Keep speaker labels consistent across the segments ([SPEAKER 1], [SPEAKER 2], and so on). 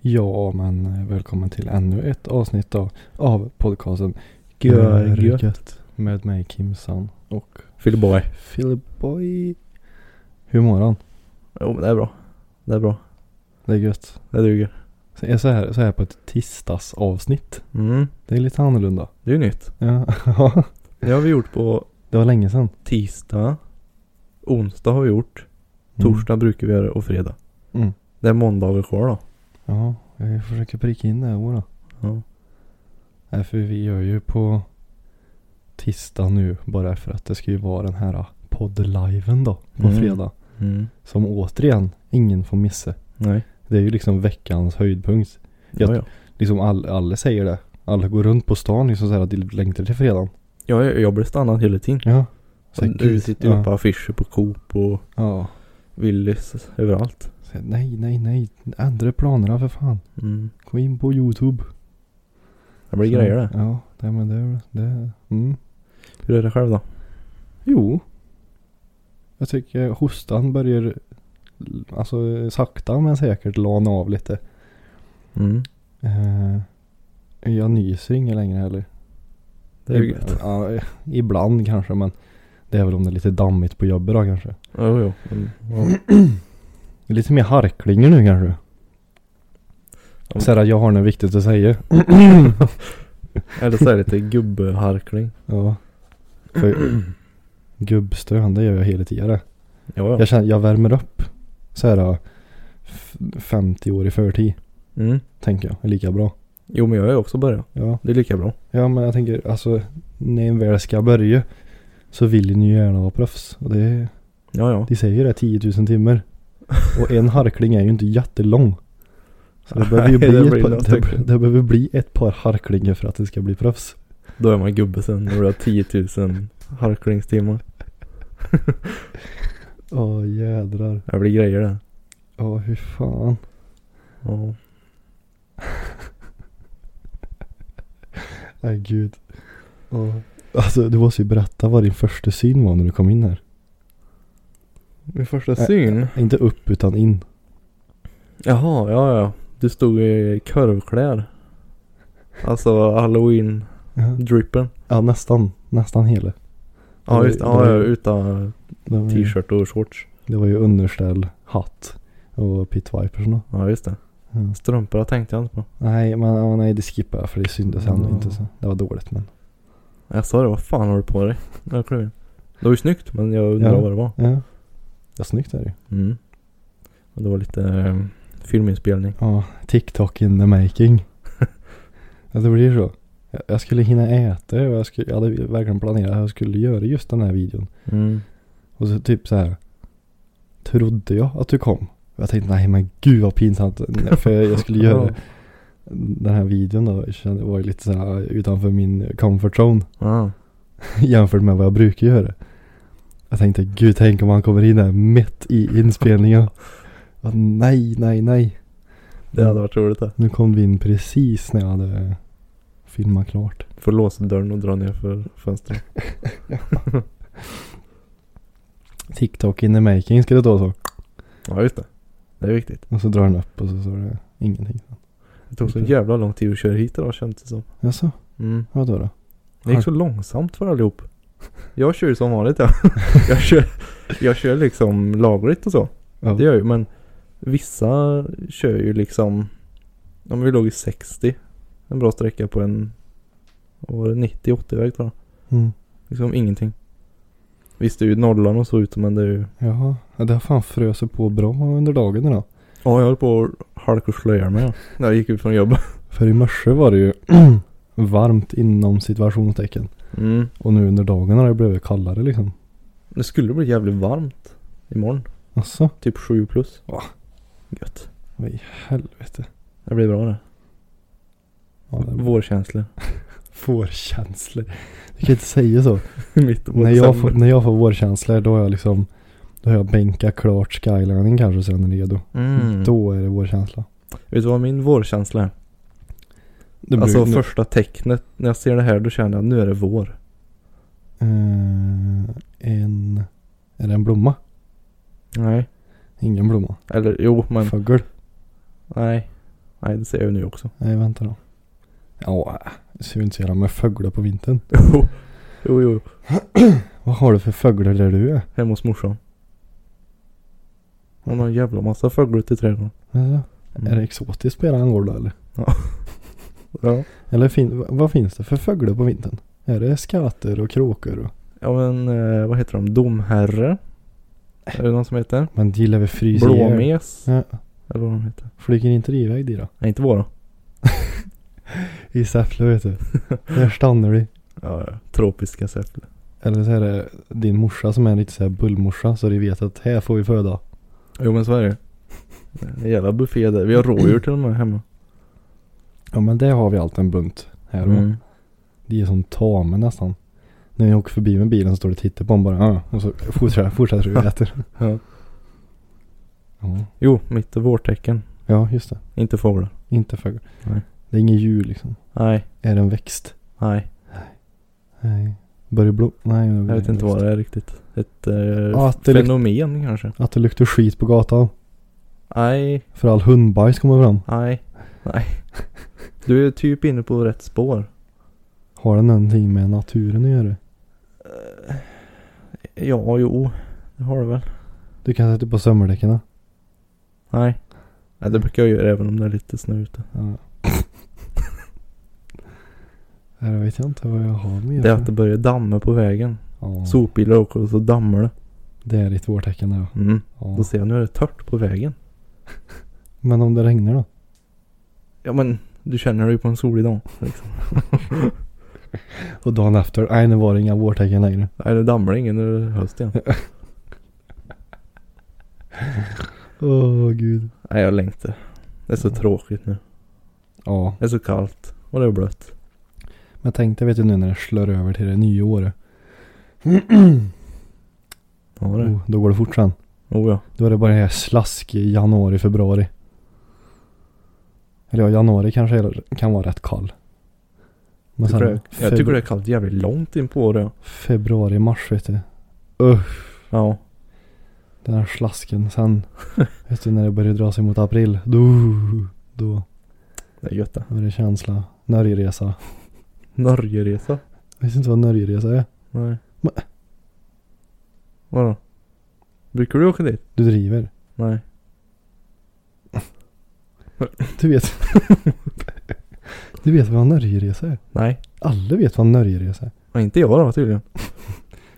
[SPEAKER 1] Ja, men välkommen till ännu ett avsnitt då, av podcasten
[SPEAKER 2] Görgött.
[SPEAKER 1] Görgött med mig Kimsan och
[SPEAKER 2] Filboy.
[SPEAKER 1] Philip Boy. Hur mår han?
[SPEAKER 2] Jo men det är bra. Det är bra.
[SPEAKER 1] Det är gött.
[SPEAKER 2] Det duger.
[SPEAKER 1] Så är så här, så här på ett tisdagsavsnitt.
[SPEAKER 2] Mm.
[SPEAKER 1] Det är lite annorlunda.
[SPEAKER 2] Det är ju nytt.
[SPEAKER 1] Ja,
[SPEAKER 2] Det har vi gjort på
[SPEAKER 1] det var länge sedan.
[SPEAKER 2] tisdag. Onsdag har vi gjort.
[SPEAKER 1] Mm.
[SPEAKER 2] Torsdag brukar vi göra det och fredag.
[SPEAKER 1] Mm.
[SPEAKER 2] Det är måndagar kvar då.
[SPEAKER 1] Ja, jag försöker pricka in det här året.
[SPEAKER 2] Ja.
[SPEAKER 1] Nej, för vi gör ju på tisdag nu bara för att det ska ju vara den här ah, poddliven då på
[SPEAKER 2] Mm.
[SPEAKER 1] fredag.
[SPEAKER 2] Mm.
[SPEAKER 1] Som återigen ingen får missa.
[SPEAKER 2] Nej.
[SPEAKER 1] Det är ju liksom veckans höjdpunkt. Jag-
[SPEAKER 2] Ja, ja.
[SPEAKER 1] Liksom all, alla säger det. Alla går runt på stan liksom såhär att de längtar till fredagen.
[SPEAKER 2] Ja, jag, jag blir stannad hela tiden.
[SPEAKER 1] Ja. Så,
[SPEAKER 2] Sen, du
[SPEAKER 1] gud,
[SPEAKER 2] sitter ju
[SPEAKER 1] ja.
[SPEAKER 2] på affischer på Coop och
[SPEAKER 1] Ja.
[SPEAKER 2] Willys överallt.
[SPEAKER 1] Så, nej, nej, nej. Ändra planerna för fan.
[SPEAKER 2] Mm.
[SPEAKER 1] Gå in på YouTube.
[SPEAKER 2] Det blir grejer det.
[SPEAKER 1] Ja, det men det. det mm.
[SPEAKER 2] Hur är det själv då?
[SPEAKER 1] Jo. Jag tycker hostan börjar alltså sakta men säkert lana av lite.
[SPEAKER 2] Mm.
[SPEAKER 1] Eh, jag nyser inget längre heller.
[SPEAKER 2] Det är ju
[SPEAKER 1] Ib-
[SPEAKER 2] gött.
[SPEAKER 1] Ja, eh, ibland kanske men det är väl om det är lite dammigt på jobbet då kanske.
[SPEAKER 2] Jo, jo. Men, ja. Mm.
[SPEAKER 1] Det är Lite mer harklingar nu kanske.
[SPEAKER 2] Ja.
[SPEAKER 1] Så här, jag har något viktigt att säga.
[SPEAKER 2] Eller så är det lite gubbharkling.
[SPEAKER 1] Ja. För gubbstön det gör jag hela tiden.
[SPEAKER 2] Ja, ja.
[SPEAKER 1] Jag känner, jag värmer upp så här f- 50 år i förtid.
[SPEAKER 2] Mm.
[SPEAKER 1] Tänker jag, är lika bra.
[SPEAKER 2] Jo, men jag har ju också börjat.
[SPEAKER 1] Ja.
[SPEAKER 2] Det är lika bra.
[SPEAKER 1] ja men jag tänker alltså när en väl ska börja så vill ni ju gärna vara proffs. Och det,
[SPEAKER 2] Ja, ja.
[SPEAKER 1] de säger ju det 10 000 timmar. Och en harkling är ju inte jättelång. Så det behöver ju bli,
[SPEAKER 2] Nej, det
[SPEAKER 1] ett,
[SPEAKER 2] blir
[SPEAKER 1] par,
[SPEAKER 2] något typ.
[SPEAKER 1] det,
[SPEAKER 2] verkligen.
[SPEAKER 1] det behöver bli ett par harklingar för att det ska bli proffs.
[SPEAKER 2] Då är man gubbe sen när du har 10 000 harklingstimmar.
[SPEAKER 1] Åh jädrar.
[SPEAKER 2] Det blir grejer det.
[SPEAKER 1] Ja hur fan.
[SPEAKER 2] Ja.
[SPEAKER 1] Nej gud. Åh. Alltså du måste ju berätta vad din första syn var när du kom in här.
[SPEAKER 2] Min första syn.
[SPEAKER 1] Inte upp utan in.
[SPEAKER 2] Jaha, ja ja. Du stod i korvkläder. Alltså halloween
[SPEAKER 1] Ja.
[SPEAKER 2] drippen.
[SPEAKER 1] Ja nästan, nästan hela.
[SPEAKER 2] Ja just det. Ja, ja, utan
[SPEAKER 1] Det var ju,
[SPEAKER 2] t-shirt och shorts.
[SPEAKER 1] det var ju underställ, hatt och pitwipers och nå.
[SPEAKER 2] Ja just det.
[SPEAKER 1] ja.
[SPEAKER 2] Strumporna tänkte jag inte på.
[SPEAKER 1] Nej men ja, nej, det skippade jag för det syntes ändå
[SPEAKER 2] Ja.
[SPEAKER 1] inte så. Det var dåligt men.
[SPEAKER 2] Jag sa det, vad fan har du på dig? Jag klev in. Det var ju snyggt men jag undrar
[SPEAKER 1] Ja.
[SPEAKER 2] vad det var.
[SPEAKER 1] Ja. Ja snyggt är det ju.
[SPEAKER 2] Mm. Och det var lite eh, filminspelning.
[SPEAKER 1] Ja, TikTok in the making. ja det blir så. Jag- Jag skulle hinna äta och jag, skulle, jag hade verkligen planerat att jag skulle göra just den här videon.
[SPEAKER 2] Mm.
[SPEAKER 1] Och så typ så här. Trodde jag att du kom? Jag tänkte nej men gud vad pinsamt. För jag skulle göra den här videon då kände, var ju lite såhär utanför min comfort zone
[SPEAKER 2] Ja.
[SPEAKER 1] jämfört med vad jag brukar göra. Jag tänkte gud tänk om han kommer in här mitt i inspelningen. Ja, nej, nej, nej.
[SPEAKER 2] Det hade varit roligt det.
[SPEAKER 1] Nu kom vi in precis när jag hade filmat klart.
[SPEAKER 2] Får låsa dörren och dra ner för fönstret.
[SPEAKER 1] TikTok in the making ska det då så.
[SPEAKER 2] Ja just det. Det är viktigt.
[SPEAKER 1] Och så drar den upp och så står det ingenting.
[SPEAKER 2] Det tog så jävla lång tid att köra hit idag känns det som.
[SPEAKER 1] Jaså,
[SPEAKER 2] Mm.
[SPEAKER 1] vadå då?
[SPEAKER 2] Det gick så långsamt för allihop. Jag kör ju som vanligt ja. jag, kör, jag kör liksom lagligt och så.
[SPEAKER 1] Ja,
[SPEAKER 2] Det gör jag ju men vissa kör ju liksom. Om vi låg i 60. En bra sträcka på en. Vad var det? 90-80 väg tror jag.
[SPEAKER 1] Mm.
[SPEAKER 2] Liksom ingenting. Visst det är ju nollan och så ute men det är ju.
[SPEAKER 1] Jaha, ja, det har fan frösat på bra under dagen idag.
[SPEAKER 2] Ja jag höll på att halka och slöja mig ja. När jag gick ut från jobbet.
[SPEAKER 1] För i morse var det ju varmt inom situationstecken.
[SPEAKER 2] Mm.
[SPEAKER 1] Och nu under dagen har det blivit kallare liksom.
[SPEAKER 2] Det skulle bli jävligt varmt imorgon.
[SPEAKER 1] Asså?
[SPEAKER 2] Typ 7 plus. Gött.
[SPEAKER 1] Vad i helvete.
[SPEAKER 2] Det blir bra det.
[SPEAKER 1] Ja, det är bra.
[SPEAKER 2] Vårkänslor.
[SPEAKER 1] Vårkänslor. Du kan inte säga så.
[SPEAKER 2] Mitt på
[SPEAKER 1] när, jag får,
[SPEAKER 2] december.
[SPEAKER 1] när jag får vårkänslor då har jag liksom Då har jag bänkat klart skylining kanske så den är redo.
[SPEAKER 2] Mm.
[SPEAKER 1] Då är det vårkänsla.
[SPEAKER 2] Vet du vad min vårkänsla är?
[SPEAKER 1] Det
[SPEAKER 2] alltså
[SPEAKER 1] brukar-
[SPEAKER 2] första tecknet. När jag ser det här då känner jag nu är det vår.
[SPEAKER 1] Eh, en... Är det en blomma?
[SPEAKER 2] Nej.
[SPEAKER 1] Ingen blomma.
[SPEAKER 2] Eller jo men.
[SPEAKER 1] Fågel?
[SPEAKER 2] Nej. Nej det ser jag ju nu också.
[SPEAKER 1] Nej vänta då. Ja, det ser ju inte så jävla med fåglar på vintern.
[SPEAKER 2] jo. Jo jo.
[SPEAKER 1] Vad har du för fåglar där du är?
[SPEAKER 2] Hemma hos morsan. Hon har en jävla massa fåglar ute i trädgården.
[SPEAKER 1] Alltså,
[SPEAKER 2] Mm.
[SPEAKER 1] Är det exotiskt på era Angola eller?
[SPEAKER 2] Ja.
[SPEAKER 1] Eller fin, vad finns det för fåglar på vintern? Är det skater och kråkor? Och,
[SPEAKER 2] Ja men eh, vad heter de? Domherre. Är det någon som heter?
[SPEAKER 1] men de lär väl frysa ihjäl.
[SPEAKER 2] Blåmes.
[SPEAKER 1] Äh. Ja.
[SPEAKER 2] Eller vad de heter.
[SPEAKER 1] Flyger inte de iväg de då?
[SPEAKER 2] Nej inte våra.
[SPEAKER 1] I Säffle vet du. Där stannar de.
[SPEAKER 2] Ja, ja. Tropiska Säffle.
[SPEAKER 1] Eller så är det din morsa som är en riktig så här bullmorsa så de vet att här får vi föda.
[SPEAKER 2] Jo men så är det En jävla buffé där. Vi har rådjur till och med hemma.
[SPEAKER 1] Ja men det har vi allt en bunt här och
[SPEAKER 2] Mm.
[SPEAKER 1] De är som tama nästan. När jag åker förbi med bilen så står det och tittar på dem bara. "Ah", Och så fortsätter fortsätter du och äter.
[SPEAKER 2] Ja.
[SPEAKER 1] Ja.
[SPEAKER 2] Jo, mitt är vårtecken.
[SPEAKER 1] ja just det.
[SPEAKER 2] Inte fåglar.
[SPEAKER 1] Inte fågel.
[SPEAKER 2] Nej.
[SPEAKER 1] Det är ingen djur liksom.
[SPEAKER 2] Nej,
[SPEAKER 1] Är det en växt?
[SPEAKER 2] nej.
[SPEAKER 1] Nej. Börjar blom? Nej. det är
[SPEAKER 2] Jag vet
[SPEAKER 1] en växt.
[SPEAKER 2] inte vad det är riktigt. Ett eh,
[SPEAKER 1] Ja, att det lukt-
[SPEAKER 2] fenomen kanske.
[SPEAKER 1] Att det luktar skit på gatan.
[SPEAKER 2] Nej,
[SPEAKER 1] För all hundbajs kommer fram.
[SPEAKER 2] nej, nej. Du är typ inne på rätt spår.
[SPEAKER 1] Har det någonting med naturen att göra?
[SPEAKER 2] Ja, jo. Det har du väl.
[SPEAKER 1] Du kan sätta på sömmerdäcken.
[SPEAKER 2] Nej. Nej, det brukar jag göra även om det är lite snö ute.
[SPEAKER 1] Ja. Nej, det vet jag inte vad jag har med.
[SPEAKER 2] Det är
[SPEAKER 1] för-
[SPEAKER 2] att det börjar damma på vägen.
[SPEAKER 1] ja,
[SPEAKER 2] Sopbilar åker och så dammar det.
[SPEAKER 1] Det är ditt vårtecken där ja.
[SPEAKER 2] Mm.
[SPEAKER 1] ja.
[SPEAKER 2] Då ser jag nu är det torrt på vägen.
[SPEAKER 1] Men om det regnar då?
[SPEAKER 2] Ja men du känner det ju på en solig dag. Liksom.
[SPEAKER 1] Och dagen efter? Nej nu var det inga vårtecken längre.
[SPEAKER 2] Nej, det dammar ingen när det är höst igen.
[SPEAKER 1] Åh gud.
[SPEAKER 2] Nej, jag längtar. Det är så tråkigt nu.
[SPEAKER 1] Ja.
[SPEAKER 2] Det är så kallt och det är blött.
[SPEAKER 1] Men tänk dig vet du nu när det slår över till det nya året.
[SPEAKER 2] Ja, det.
[SPEAKER 1] Oh, då går det fort sen.
[SPEAKER 2] Oh ja.
[SPEAKER 1] Då är det bara det här slask i januari, februari. Eller ja, januari kanske är, kan vara rätt kall. Men
[SPEAKER 2] Tycker
[SPEAKER 1] sen
[SPEAKER 2] det, jag
[SPEAKER 1] febru-
[SPEAKER 2] tycker det är kallt jävligt långt in på året.
[SPEAKER 1] Februari, mars vet du. Usch.
[SPEAKER 2] Ja.
[SPEAKER 1] Den här slasken sen. vet du när det börjar dra sig mot april. Då, då
[SPEAKER 2] Det är gött det.
[SPEAKER 1] är det känsla. Norgeresa.
[SPEAKER 2] Norgeresa.
[SPEAKER 1] Jag vet inte vad Norgeresa är.
[SPEAKER 2] Nej.
[SPEAKER 1] Men-
[SPEAKER 2] Vadå? Brukar du åka dit?
[SPEAKER 1] Du driver.
[SPEAKER 2] Nej.
[SPEAKER 1] Du vet. du vet vad Norgeresa är.
[SPEAKER 2] Nej.
[SPEAKER 1] Alla vet vad Norgeresa är.
[SPEAKER 2] Ja, inte jag då tydligen.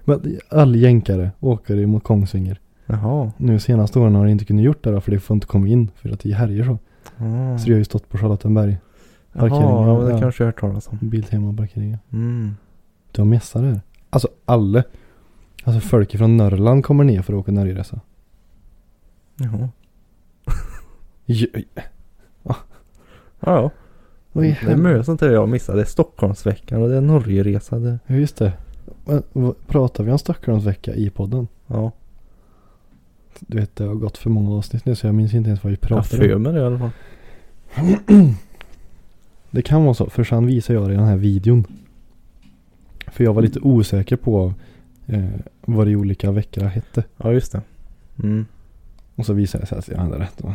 [SPEAKER 1] Men all jänkare åker ju mot Kongsvinger.
[SPEAKER 2] Jaha.
[SPEAKER 1] Nu senaste åren har de inte kunnat gjort det då, för det får inte komma in för att det är härjer så.
[SPEAKER 2] Ah.
[SPEAKER 1] Så det har ju stått på Charlottenberg.
[SPEAKER 2] Jaha, ja, men det
[SPEAKER 1] ja.
[SPEAKER 2] kanske jag har hört talas om.
[SPEAKER 1] Biltema-parkeringen.
[SPEAKER 2] Mm.
[SPEAKER 1] Du har missat det här. Alltså alla. Alltså folk från Norrland kommer ner för att åka Norgeresa.
[SPEAKER 2] Jaha.
[SPEAKER 1] Ju-
[SPEAKER 2] Ja, ja.
[SPEAKER 1] Oj,
[SPEAKER 2] Det är mycket sånt där jag missade. Det är Stockholmsveckan och det är Norgeresa. Det...
[SPEAKER 1] Ja just det. Men, vad- Pratar vi om Stockholmsvecka i podden?
[SPEAKER 2] Ja.
[SPEAKER 1] Du vet det har gått för många avsnitt nu så jag minns inte ens vad vi
[SPEAKER 2] Jag
[SPEAKER 1] pratade
[SPEAKER 2] för
[SPEAKER 1] om.
[SPEAKER 2] mig det i alla fall.
[SPEAKER 1] Det kan vara så för sen visar jag dig den här videon. För jag var lite osäker på eh, vad de olika veckorna hette.
[SPEAKER 2] Ja, just det. Mm.
[SPEAKER 1] Och så visade det sig att jag hade rätt. va?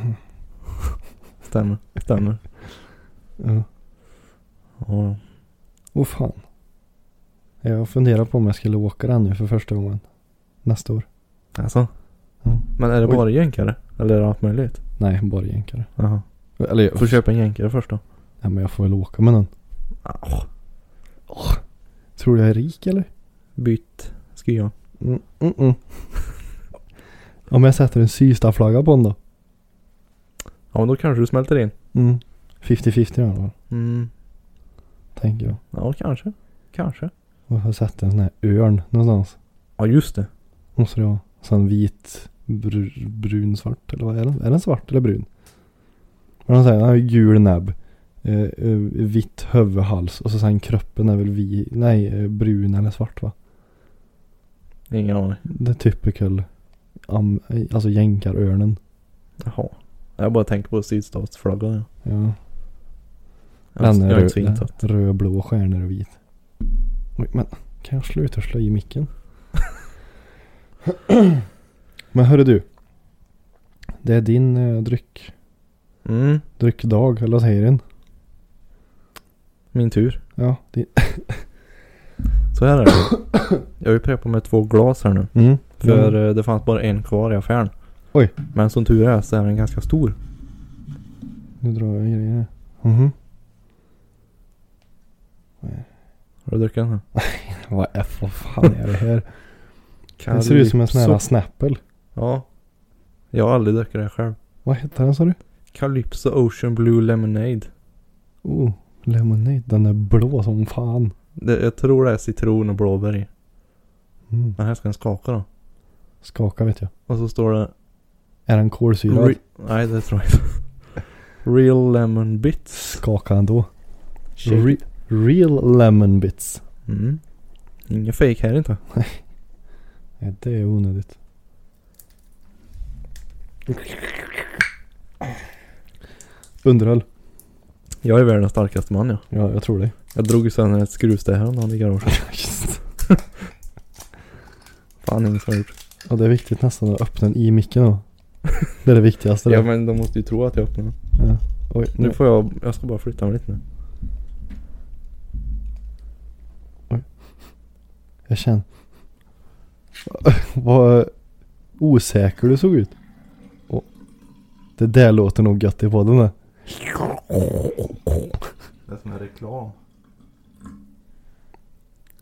[SPEAKER 2] Stämmer. Stämmer.
[SPEAKER 1] Ja.
[SPEAKER 2] Ja.
[SPEAKER 1] Åh fan. Jag funderar på om jag skulle åka den nu för första gången. Nästa år.
[SPEAKER 2] Alltså.
[SPEAKER 1] Ja.
[SPEAKER 2] Men är det
[SPEAKER 1] Oj.
[SPEAKER 2] bara jänkare? Eller är det allt möjligt?
[SPEAKER 1] Nej, bara jänkare.
[SPEAKER 2] Jaha.
[SPEAKER 1] Eller jag
[SPEAKER 2] Får köpa en jänkare först då.
[SPEAKER 1] Ja, men jag får väl åka med den.
[SPEAKER 2] Ah,
[SPEAKER 1] Tror du jag är rik eller?
[SPEAKER 2] Byt skya.
[SPEAKER 1] Mm, mm, mm. Om jag sätter en Systad-flagga på den då?
[SPEAKER 2] Ja, men då kanske du smälter in.
[SPEAKER 1] Mm. 50-50 i alla fall,
[SPEAKER 2] Mm.
[SPEAKER 1] tänker jag.
[SPEAKER 2] Ja, kanske. Kanske.
[SPEAKER 1] Och jag sätter en sån här örn någonstans.
[SPEAKER 2] Ja, just det.
[SPEAKER 1] Måste det vara. Sen vit, br brun, svart eller vad är den? Är den svart eller brun? Men han säger, han har ju gul näbb. Eh, eh, vitt huvud, hals och så sen kroppen är väl vi, nej eh, brun eller svart va?
[SPEAKER 2] Ingen aning.
[SPEAKER 1] Det är typical, am, alltså jänkarörnen.
[SPEAKER 2] Jaha. Jag bara tänker på sydstatsflaggan. Ja.
[SPEAKER 1] Ja.
[SPEAKER 2] Jag har
[SPEAKER 1] Den
[SPEAKER 2] inte- jag har
[SPEAKER 1] är
[SPEAKER 2] inte
[SPEAKER 1] röd,
[SPEAKER 2] fintat.
[SPEAKER 1] röd, blå, stjärnor och vit. Oj, men kan jag sluta slå i micken? men hörru du. Det är din eh, dryck,
[SPEAKER 2] Mm,
[SPEAKER 1] dryckdag, eller vad säger den?
[SPEAKER 2] min tur.
[SPEAKER 1] Ja, din.
[SPEAKER 2] Så här är det. Jag har ju preppat med två glas här nu.
[SPEAKER 1] Mm.
[SPEAKER 2] För
[SPEAKER 1] Mm.
[SPEAKER 2] eh, det fanns bara en kvar i affären.
[SPEAKER 1] Oj.
[SPEAKER 2] Men som tur är så är den ganska stor.
[SPEAKER 1] Nu drar jag grejer här. Mhm.
[SPEAKER 2] Har du druckit den här?
[SPEAKER 1] Vad F, vad fan är det här? Det ser ut som en sån här
[SPEAKER 2] Calypso.
[SPEAKER 1] snapple.
[SPEAKER 2] Ja. Jag har aldrig druckit det här själv.
[SPEAKER 1] Vad heter den sa du?
[SPEAKER 2] Calypso Ocean Blue Lemonade.
[SPEAKER 1] Oh, lemonade. Den är blå som fan.
[SPEAKER 2] Det, jag tror det är citron och blåbär i.
[SPEAKER 1] Mm.
[SPEAKER 2] Den här ska den skaka då.
[SPEAKER 1] Skaka vet jag.
[SPEAKER 2] Och så står det...
[SPEAKER 1] Är den kolsyrad?
[SPEAKER 2] Re- Nej det tror jag inte. Real Lemon Bits.
[SPEAKER 1] Skaka ändå.
[SPEAKER 2] Shake
[SPEAKER 1] Re-
[SPEAKER 2] it.
[SPEAKER 1] real lemon bits.
[SPEAKER 2] Mm. Ingen fake här inte.
[SPEAKER 1] Nej, det är onödigt. Underhåll.
[SPEAKER 2] Jag är världens starkaste man ja.
[SPEAKER 1] Ja, jag tror det.
[SPEAKER 2] Jag drog ju sönder ett skruvstäd häromdagen i garaget.
[SPEAKER 1] Just.
[SPEAKER 2] Fan ingen som har gjort.
[SPEAKER 1] Ja, det är viktigt nästan att öppna den i micken då. Det är det viktigaste.
[SPEAKER 2] Ja
[SPEAKER 1] Ja.
[SPEAKER 2] men de måste ju tro att jag öppnar den.
[SPEAKER 1] Ja. Oj,
[SPEAKER 2] Nu
[SPEAKER 1] nu.
[SPEAKER 2] får jag... Jag ska bara flytta mig lite nu.
[SPEAKER 1] Jag känner. Vad osäker du såg ut. Åh. Det där låter nog gött i podden det.
[SPEAKER 2] Det är som en reklam.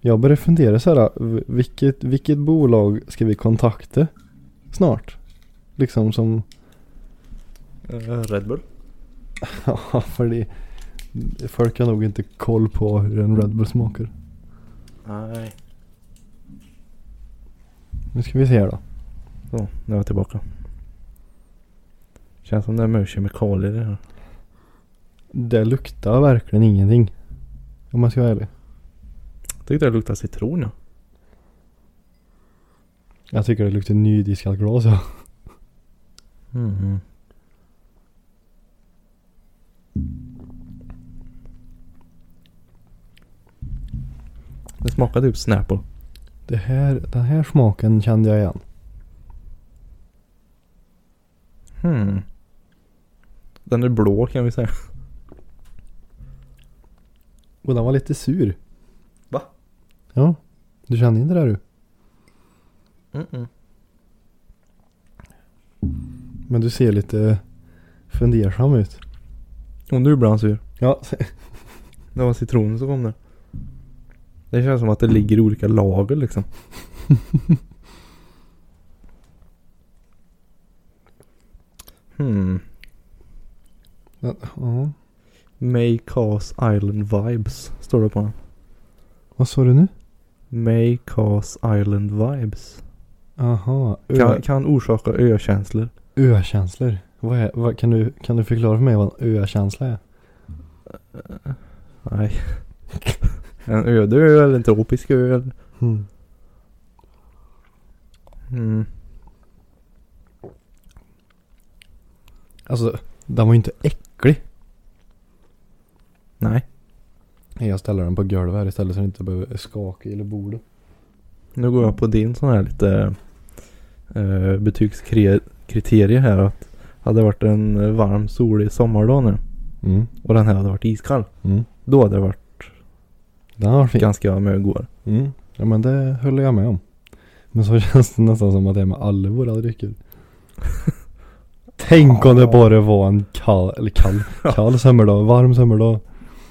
[SPEAKER 1] Jag börjar fundera så här, v- vilket, vilket bolag ska vi kontakta snart? Liksom som,
[SPEAKER 2] Eh, Red Bull.
[SPEAKER 1] ja för det, folk har nog inte koll på hur en Red Bull smakar.
[SPEAKER 2] Nej.
[SPEAKER 1] Nu ska vi se här då.
[SPEAKER 2] Så, nu är jag tillbaka. Känns som det är mycket kemikalier i det här.
[SPEAKER 1] Det luktar verkligen ingenting. Om jag ska vara ärlig.
[SPEAKER 2] Jag tyckte det luktade citron ja.
[SPEAKER 1] Jag tycker det luktar nydiskat glas ja.
[SPEAKER 2] Mhm. Det smakar typ Snapple.
[SPEAKER 1] Det här, den här smaken kände jag igen.
[SPEAKER 2] Hmm. Den är blå kan vi säga.
[SPEAKER 1] Och den var lite sur.
[SPEAKER 2] Va?
[SPEAKER 1] Ja. Du kände inte det du?
[SPEAKER 2] Mm-mm.
[SPEAKER 1] Men du ser lite fundersam ut.
[SPEAKER 2] Och nu blir han sur.
[SPEAKER 1] Ja,
[SPEAKER 2] Det var citronen som kom där. Det känns som att det ligger i olika lager liksom. hmm.
[SPEAKER 1] ja. ja.
[SPEAKER 2] May cause island vibes. Står det på den.
[SPEAKER 1] Vad sa du nu?
[SPEAKER 2] May cause island vibes.
[SPEAKER 1] Aha, ö-
[SPEAKER 2] Kan, kan orsaka ökänslor.
[SPEAKER 1] ö-känslor. Vad är, vad, kan, du, kan du förklara för mig vad en ö-känsla är?
[SPEAKER 2] Nej. en öde ö eller en tropisk ö. eller- Mm.
[SPEAKER 1] Alltså, den var ju inte äcklig.
[SPEAKER 2] Nej.
[SPEAKER 1] Jag ställer den på golvet här istället så den inte behöver skaka eller bordet.
[SPEAKER 2] Nu går jag på din sån här lite eh, betygskriterie här att hade det varit en eh, varm solig sommardag nu
[SPEAKER 1] Mm.
[SPEAKER 2] och den här hade varit iskall.
[SPEAKER 1] Mm.
[SPEAKER 2] Då hade det varit
[SPEAKER 1] Den var fin.
[SPEAKER 2] ganska mögor.
[SPEAKER 1] Mm. Ja men det höll jag med om. Men så känns det nästan som att det är med alla våra drycker. Tänk om det bara var en kall, eller kall, kall sommardag, varm sommardag.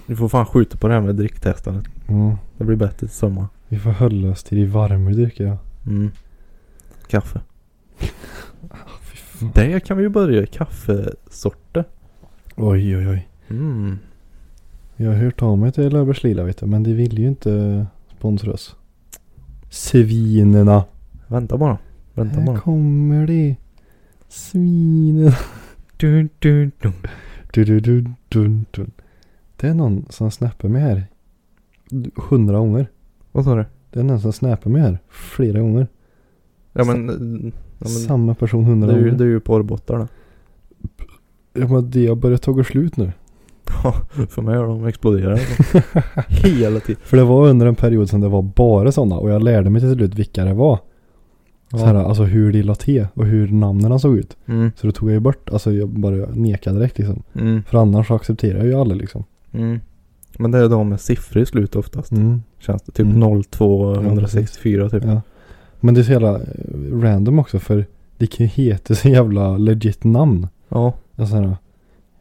[SPEAKER 2] Du får fan skjuta på det här med dricktestandet.
[SPEAKER 1] Mm.
[SPEAKER 2] Det blir bättre till sommar.
[SPEAKER 1] Vi får hålla oss till de varma dryckerna.
[SPEAKER 2] Mm. Kaffe.
[SPEAKER 1] Fy fan.
[SPEAKER 2] Där kan vi ju börja. Kaffesorter.
[SPEAKER 1] Oj oj oj.
[SPEAKER 2] Mm.
[SPEAKER 1] Jag har hört av mig till Löfbergs Lila vet du, men de vill ju inte sponsra oss. Svinerna.
[SPEAKER 2] Vänta bara. Vänta
[SPEAKER 1] Här
[SPEAKER 2] bara.
[SPEAKER 1] kommer de. Svinen.
[SPEAKER 2] Dun, dun, dun.
[SPEAKER 1] Du, du, du, dun, dun. Det är någon som snappar mig här. Hundra gånger.
[SPEAKER 2] Vad sa du?
[SPEAKER 1] Det är någon som snappar mig här. Flera gånger.
[SPEAKER 2] Ja men, eh, ja, men
[SPEAKER 1] Samma person hundra
[SPEAKER 2] det, är ju,
[SPEAKER 1] gånger.
[SPEAKER 2] det är ju porrbottar då.
[SPEAKER 1] Ja, men det har börjat ta slut nu.
[SPEAKER 2] Ja, för mig har de exploderat. Hela tiden.
[SPEAKER 1] För det var under en period som det var bara sådana. Och jag lärde mig till slut vilka det var. Så här, alltså hur de la till och hur namnen såg ut.
[SPEAKER 2] Mm,
[SPEAKER 1] Så då tog jag ju bort, alltså jag bara nekade direkt liksom.
[SPEAKER 2] mm,
[SPEAKER 1] För annars så accepterar jag ju aldrig liksom.
[SPEAKER 2] mm. Men det är de med siffror i slut oftast.
[SPEAKER 1] Mm.
[SPEAKER 2] Känns det. Typ
[SPEAKER 1] Mm.
[SPEAKER 2] 0264 typ.
[SPEAKER 1] Ja. Men det är så jävla eh, random också för det kan ju heta så jävla legit namn.
[SPEAKER 2] Ja.
[SPEAKER 1] Alltså här,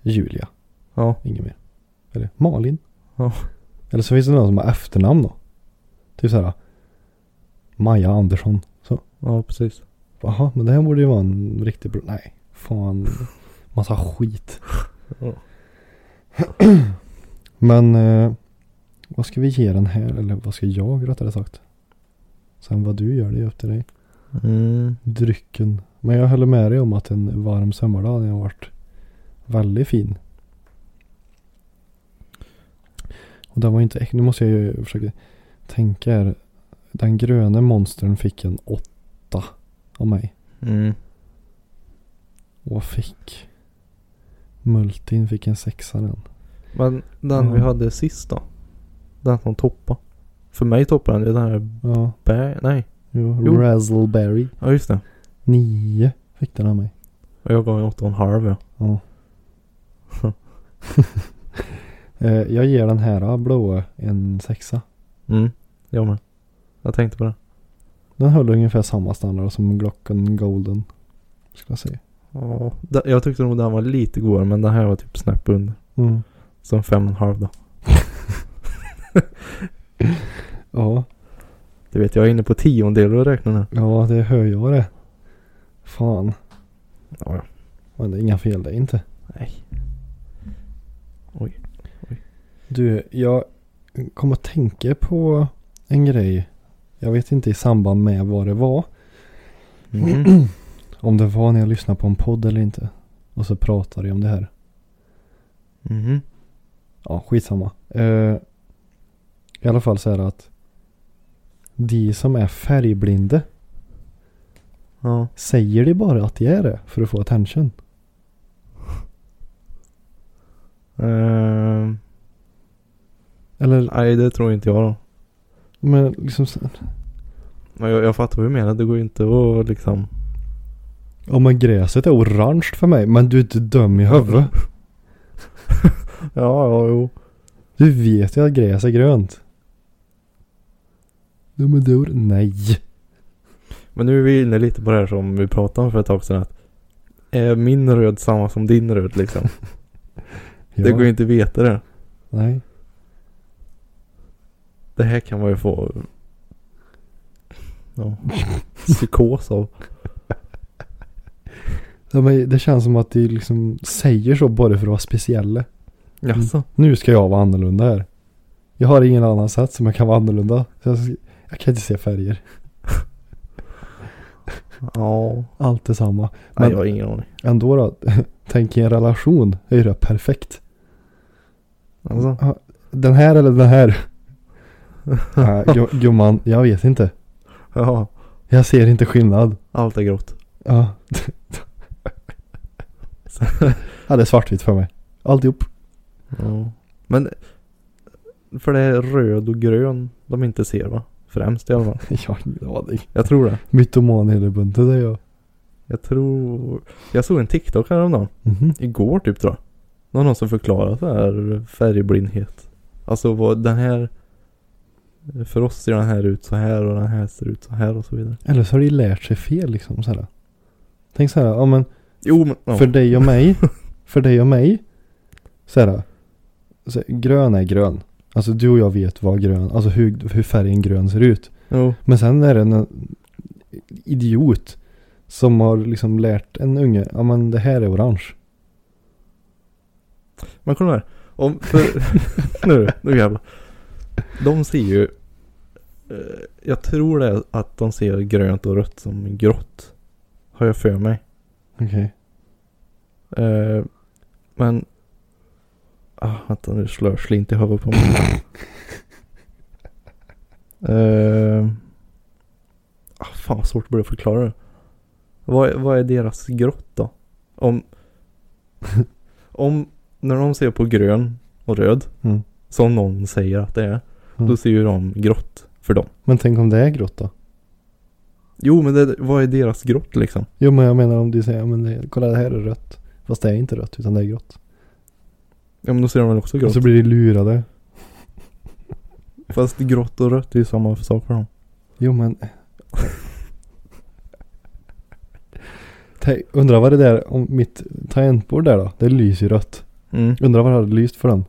[SPEAKER 1] Julia,
[SPEAKER 2] Ja.
[SPEAKER 1] inget mer. Eller Malin.
[SPEAKER 2] Ja.
[SPEAKER 1] Eller så finns det någon som har efternamn då. Typ så här Maja Andersson. Så,
[SPEAKER 2] Ja, precis.
[SPEAKER 1] jaha, men det här borde ju vara en riktig bro. Nej, fan. Massa skit.
[SPEAKER 2] Ja.
[SPEAKER 1] Men eh, vad ska vi ge den här? Eller vad ska jag rättare sagt? Sen vad du gör det är upp till dig.
[SPEAKER 2] Mm.
[SPEAKER 1] drycken. Men jag håller med dig om att en varm sommardag hade varit väldigt fin. Och den var inte äck- Nu måste jag ju försöka tänka här. Den gröna monstern fick en åtta av mig.
[SPEAKER 2] Mm.
[SPEAKER 1] Och vad fick? Multin fick en sexa den.
[SPEAKER 2] Men den vi
[SPEAKER 1] Ja.
[SPEAKER 2] hade sist då? Den som toppade. För mig toppade den ju den här
[SPEAKER 1] Ja,
[SPEAKER 2] bär... Nej.
[SPEAKER 1] jo.
[SPEAKER 2] Jo.
[SPEAKER 1] Razzleberry.
[SPEAKER 2] Ja, just det.
[SPEAKER 1] Nio fick den av mig.
[SPEAKER 2] Och jag gav en åtta och en halv ja.
[SPEAKER 1] Ja. Eh, jag ger den här blåa en sexa.
[SPEAKER 2] Mm. Jag med. Jag tänkte på det.
[SPEAKER 1] Den höll ungefär samma standard som Glocken Golden. Ska jag säga.
[SPEAKER 2] Ja. det- Jag tyckte nog den var lite godare men den här var typ snäpp under.
[SPEAKER 1] Mm.
[SPEAKER 2] Så en fem och en halv då.
[SPEAKER 1] Ja,
[SPEAKER 2] Du vet jag är inne på tiondelar och räknar nu.
[SPEAKER 1] ja det hör jag det. Fan.
[SPEAKER 2] Ja, ja.
[SPEAKER 1] Men det är inga fel det är inte.
[SPEAKER 2] Nej.
[SPEAKER 1] Du, jag kom att tänka på en grej. Jag vet inte i samband med vad det var.
[SPEAKER 2] Mm.
[SPEAKER 1] Om det var när jag lyssnade på en podd eller inte. Och så pratade jag om det här.
[SPEAKER 2] Mhm.
[SPEAKER 1] Ja, skitsamma. Eh, I alla fall så är det att de som är färgblinda
[SPEAKER 2] Ja.
[SPEAKER 1] säger de bara att de är det för att få attention.
[SPEAKER 2] Ehm,
[SPEAKER 1] Eller
[SPEAKER 2] nej det tror inte jag då.
[SPEAKER 1] Men liksom, så-
[SPEAKER 2] Men jag, jag fattar vad du menar. Det går ju inte att liksom.
[SPEAKER 1] ja men gräset är orange för mig. Men du är inte dum i huvudet.
[SPEAKER 2] Ja, ja, jo.
[SPEAKER 1] Du vet ju att gräs är grönt. Nej men du, nej.
[SPEAKER 2] Men nu är vi inne lite på det här som vi pratade om för ett tag sedan. Att är min röd samma som din röd liksom?
[SPEAKER 1] Ja,
[SPEAKER 2] Det går ju inte att veta det.
[SPEAKER 1] Nej.
[SPEAKER 2] Det här kan man ju få ja, psykos av.
[SPEAKER 1] Ja, men det känns som att de liksom säger så bara för att vara speciella.
[SPEAKER 2] Jaså?
[SPEAKER 1] Nu ska jag vara annorlunda här. Jag har ingen annan sätt som jag kan vara annorlunda. Så jag, jag kan inte se färger.
[SPEAKER 2] Ja.
[SPEAKER 1] Allt är samma.
[SPEAKER 2] Nej,
[SPEAKER 1] Men-
[SPEAKER 2] jag har ingen aning.
[SPEAKER 1] Ändå då. Tänk i en relation. Det är ju rätt perfekt.
[SPEAKER 2] Alltså.
[SPEAKER 1] Den här eller den här? Nej, gu- gumman, jag vet inte.
[SPEAKER 2] Ja.
[SPEAKER 1] Jag ser inte skillnad.
[SPEAKER 2] Allt är grått.
[SPEAKER 1] Ja. ja, det är svartvitt för mig. Alltihop.
[SPEAKER 2] Ja. Men för det är röd och grön de inte ser va? Främst i alla fall.
[SPEAKER 1] Jag har ingen aning.
[SPEAKER 2] Jag tror det.
[SPEAKER 1] Mytoman hela bunten det är jag.
[SPEAKER 2] Jag tror... Jag såg en TikTok häromdagen.
[SPEAKER 1] Mhm.
[SPEAKER 2] Igår typ tror jag. Det var någon som förklarade så här färgblindhet. Alltså vad den här... För oss ser den här ut så här och den här ser ut så här och så vidare.
[SPEAKER 1] Eller så har de lärt sig fel liksom så här. Tänk så här, ja men
[SPEAKER 2] Jo men... Ja.
[SPEAKER 1] för dig och mig. För dig och mig. Så här. Så, grön är grön. Alltså du och jag vet vad grön, alltså hur, hur färgen grön ser ut.
[SPEAKER 2] Jo.
[SPEAKER 1] Men sen är det en idiot som har liksom lärt en unge, ja men det här är orange.
[SPEAKER 2] Men kolla här. Om, för, nu, nu jävlar. De ser ju... eh, Jag tror det är att de ser grönt och rött som grått. Har jag för mig.
[SPEAKER 1] Okej.
[SPEAKER 2] Eh, Men Ah, vänta nu slår jag slint i huvudet på mig. uh, ah, fan vad svårt det blir att förklara det. Vad, är- vad är deras grott då? Om, om, när de ser på grön och röd,
[SPEAKER 1] Mm.
[SPEAKER 2] som någon säger att det är,
[SPEAKER 1] Mm.
[SPEAKER 2] då ser ju de grått för dem.
[SPEAKER 1] Men tänk om det är grått då?
[SPEAKER 2] Jo men det, vad är deras grott liksom?
[SPEAKER 1] Jo men jag menar om du säger, "Ja, men det, kolla det här är rött. Fast det är inte rött utan det är grått.
[SPEAKER 2] Ja men då ser de väl också
[SPEAKER 1] Och
[SPEAKER 2] grått?
[SPEAKER 1] så blir de lurade.
[SPEAKER 2] Fast grått och rött är ju samma sak för dem.
[SPEAKER 1] Jo men. Tänk, undrar vad det där, om mitt tangentbord där då, det lyser ju rött.
[SPEAKER 2] Mm.
[SPEAKER 1] Undrar vad det hade lyst för dem.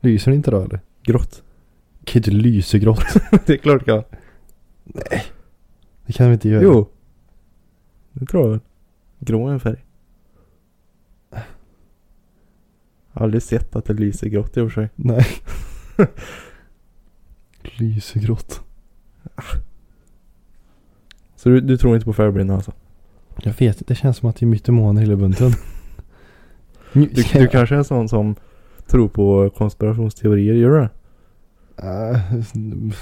[SPEAKER 1] Lyser det inte då eller?
[SPEAKER 2] Grått.
[SPEAKER 1] Det kan ju inte lysa grått.
[SPEAKER 2] det är klart ja.
[SPEAKER 1] Det kan vi inte göra.
[SPEAKER 2] Jo. Det tror jag väl. Grå är en färg. Jag har aldrig sett att det lyser grått i och för sig.
[SPEAKER 1] Nej. lyser grått.
[SPEAKER 2] Så du, du tror inte på färgblinda alltså?
[SPEAKER 1] Jag vet inte, det känns som att det är mytomaner hela bunten.
[SPEAKER 2] Du, du kanske är en sån som tror på konspirationsteorier, gör du det?
[SPEAKER 1] Äh,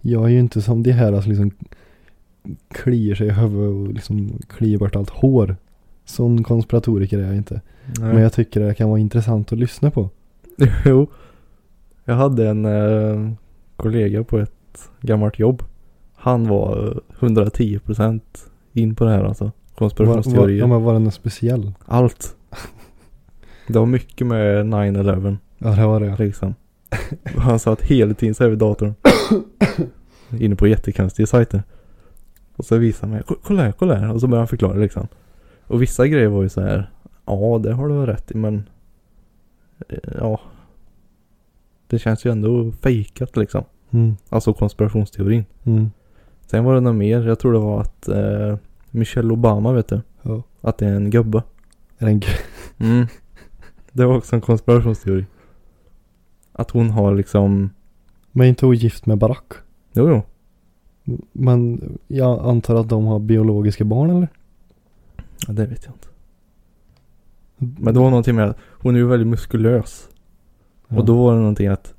[SPEAKER 1] Jag är ju inte som de här som liksom kliar sig i huvudet och liksom kliar bort allt hår. Sån konspiratoriker är jag inte. Men jag tycker det kan vara intressant att lyssna på.
[SPEAKER 2] Jo. Jag hade en eh, kollega på ett gammalt jobb. Han var eh, 110% in på det här alltså.
[SPEAKER 1] Var, var,
[SPEAKER 2] Konspirationsteorier.
[SPEAKER 1] ja, men var det något speciell?
[SPEAKER 2] Allt. Det var mycket med 9-11
[SPEAKER 1] Ja det var det.
[SPEAKER 2] liksom. Han satt hela tiden så här vid datorn. Inne på jättekonstiga sajter. Och så visade han mig. "Ko- Kolla här, kolla här. Och så började han förklara liksom. Och vissa grejer var ju så här. Ja, det har du väl rätt i men. eh, Ja. Det känns ju ändå fejkat liksom.
[SPEAKER 1] Mm,
[SPEAKER 2] Alltså konspirationsteorin.
[SPEAKER 1] mm.
[SPEAKER 2] Sen var det något mer. Jag tror det var att eh, Michelle Obama vet du.
[SPEAKER 1] Ja.
[SPEAKER 2] Att det är en gubbe.
[SPEAKER 1] Är det en gr-
[SPEAKER 2] Mm. Det var också en konspirationsteori. Att hon har liksom...
[SPEAKER 1] Men inte ogift med Barack?
[SPEAKER 2] Jo, jo.
[SPEAKER 1] Men jag antar att de har biologiska barn eller?
[SPEAKER 2] Ja, det vet jag inte. Men det var någonting med att hon är ju väldigt muskulös.
[SPEAKER 1] Ja.
[SPEAKER 2] Och då var det någonting att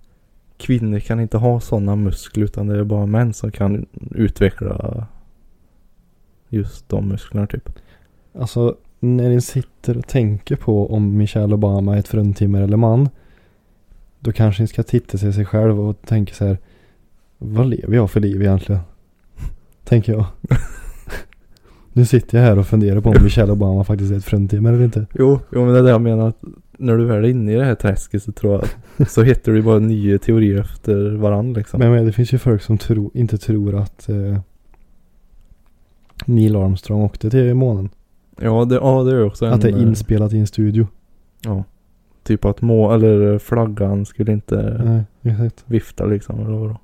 [SPEAKER 2] kvinnor kan inte ha sådana muskler utan det är bara män som kan utveckla just de musklerna typ.
[SPEAKER 1] Alltså när ni sitter och tänker på om Michelle Obama är ett fruntimmer eller man. Då kanske ni ska titta sig i sig själv och tänka så här. Vad lever jag för liv egentligen? Tänker jag. nu sitter jag här och funderar på om Michelle Obama faktiskt är ett fruntimmer eller inte.
[SPEAKER 2] Jo, jo men det är det jag menar. Att när du väl är inne i det här träsket så tror jag att- så hittar du ju bara nya teorier efter varandra liksom.
[SPEAKER 1] Men, men det finns ju folk som tro, inte tror att eh, Neil Armstrong åkte till månen.
[SPEAKER 2] Ja, det, ja, det är ju också en...
[SPEAKER 1] Att det är
[SPEAKER 2] eh,
[SPEAKER 1] inspelat i en studio.
[SPEAKER 2] Ja. Typ att må eller flaggan skulle inte
[SPEAKER 1] Nej, exakt.
[SPEAKER 2] vifta liksom eller vadå?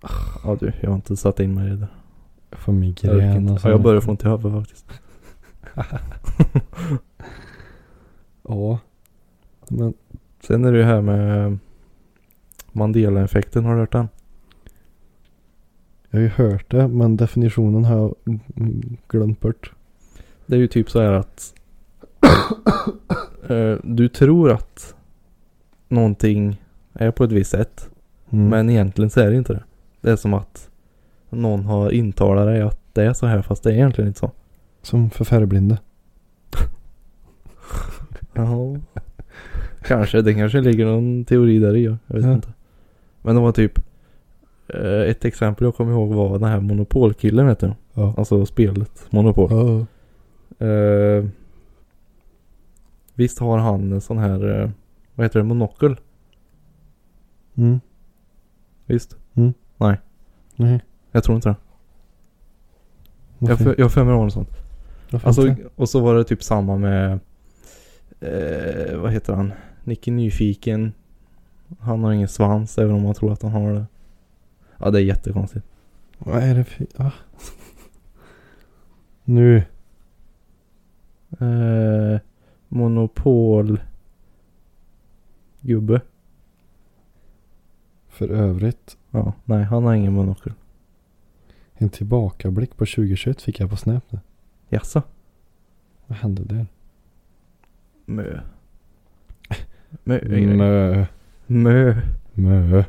[SPEAKER 2] Ah, Ja du, jag har inte satt in mig i det.
[SPEAKER 1] Jag får
[SPEAKER 2] Jag, orkar
[SPEAKER 1] migrän
[SPEAKER 2] inte.
[SPEAKER 1] alltså.
[SPEAKER 2] ja, jag börjar få ont i huvudet faktiskt.
[SPEAKER 1] Ja. Men
[SPEAKER 2] Sen är det ju här med eh, Mandela-effekten, har du hört den?
[SPEAKER 1] jag har ju hört det, men definitionen har jag mm, glömt bort.
[SPEAKER 2] Det är ju typ så här att eh, du tror att någonting är på ett visst sätt.
[SPEAKER 1] Mm.
[SPEAKER 2] Men egentligen så är det inte det. Det är som att någon har intalat dig att det är så här fast det är egentligen inte så.
[SPEAKER 1] Som för färgblinda.
[SPEAKER 2] Ja. kanske. Det kanske ligger någon teori där i. ja. Jag vet
[SPEAKER 1] Ja.
[SPEAKER 2] inte. Men det var typ. eh, Ett exempel jag kommer ihåg var den här Monopolkillen vet du.
[SPEAKER 1] Ja.
[SPEAKER 2] Alltså spelet Monopol.
[SPEAKER 1] Ja.
[SPEAKER 2] Eh, visst har han en sån här. eh, Vad heter det? Monokel?
[SPEAKER 1] Mm.
[SPEAKER 2] Visst?
[SPEAKER 1] Nej.
[SPEAKER 2] Jag tror inte det. Jag
[SPEAKER 1] Varför,
[SPEAKER 2] för- jag har för mig det var något sånt.
[SPEAKER 1] varför
[SPEAKER 2] Alltså,
[SPEAKER 1] inte?
[SPEAKER 2] och så var det typ samma med. Eh, vad heter han? Nicke Nyfiken. Han har ingen svans även om man tror att han har det. Ja det är jättekonstigt.
[SPEAKER 1] Vad är det för... Ah. Nu.
[SPEAKER 2] Eh, monopol. Gubbe.
[SPEAKER 1] För övrigt.
[SPEAKER 2] Ja, nej han har ingen monokel.
[SPEAKER 1] En tillbakablick på 2021 fick jag på Snap nu.
[SPEAKER 2] Jaså?
[SPEAKER 1] Vad hände där?
[SPEAKER 2] Mö. Mö. är en grej.
[SPEAKER 1] Mö.
[SPEAKER 2] Mö.
[SPEAKER 1] Mö.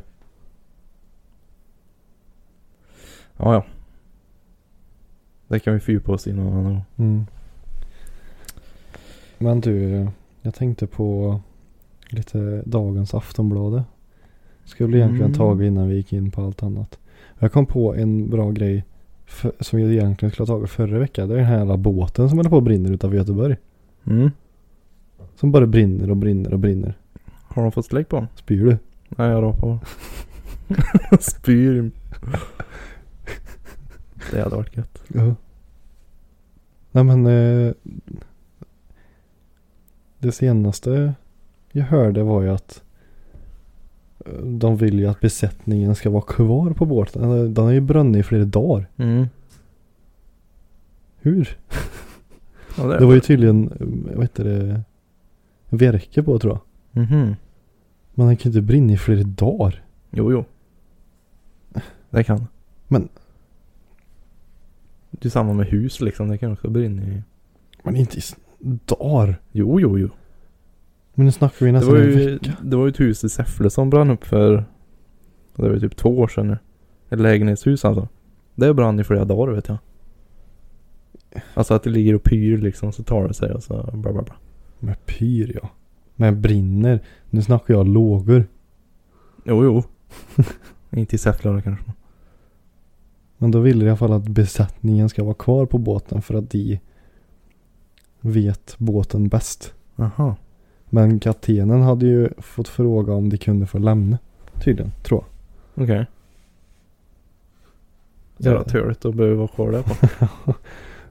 [SPEAKER 2] Ja, ja. Det kan vi fördjupa oss i någon annan gång.
[SPEAKER 1] Mm. Men du, jag tänkte på lite dagens Aftonbladet. Skulle egentligen
[SPEAKER 2] Mm.
[SPEAKER 1] tagit innan vi gick in på allt annat. Jag kom på en bra grej för, som jag egentligen skulle ha tagit förra veckan. Det är den här jävla båten som håller på och brinner utanför Göteborg.
[SPEAKER 2] Mm.
[SPEAKER 1] Som bara brinner och brinner och brinner.
[SPEAKER 2] Har de fått släck på den?
[SPEAKER 1] Spyr du?
[SPEAKER 2] Nej, jag rapar bara. Spyr. Det hade varit gött.
[SPEAKER 1] Ja. Nej men. Eh, det senaste jag hörde var ju att eh, de vill ju att besättningen ska vara kvar på båten. Eller, Den har ju brunnit i flera dagar.
[SPEAKER 2] Mm.
[SPEAKER 1] Hur?
[SPEAKER 2] Ja, det,
[SPEAKER 1] Det var ju tydligen, eh, vad heter det, verke på tror jag.
[SPEAKER 2] Mhm.
[SPEAKER 1] Men den kan ju inte brinna i flera dagar.
[SPEAKER 2] Jo, jo. Det kan.
[SPEAKER 1] Men-
[SPEAKER 2] Det är samma med hus liksom. Det kan också brinna i.
[SPEAKER 1] Men inte i s- dagar.
[SPEAKER 2] Jo, jo, jo.
[SPEAKER 1] Men nu snackar vi
[SPEAKER 2] Det
[SPEAKER 1] nästan
[SPEAKER 2] var,
[SPEAKER 1] Alltså, en
[SPEAKER 2] ju,
[SPEAKER 1] vecka.
[SPEAKER 2] det var ju ett hus i Säffle som brann upp för, det var ju typ två år sedan nu. Ett lägenhetshus alltså. Det brann i flera dagar vet jag. Alltså att det ligger och pyr liksom så tar det sig och så bla bla bla.
[SPEAKER 1] Med pyr ja. Men brinner. Nu snackar jag lågor.
[SPEAKER 2] Jo jo. Inte i Säffle då kanske.
[SPEAKER 1] Men då vill jag i alla fall att besättningen ska vara kvar på båten för att de vet båten bäst.
[SPEAKER 2] Aha.
[SPEAKER 1] Men kaptenen hade ju fått fråga om de kunde få lämna. Tydligen, tror jag.
[SPEAKER 2] Okej. Jävla töligt att behöva vara kvar där på.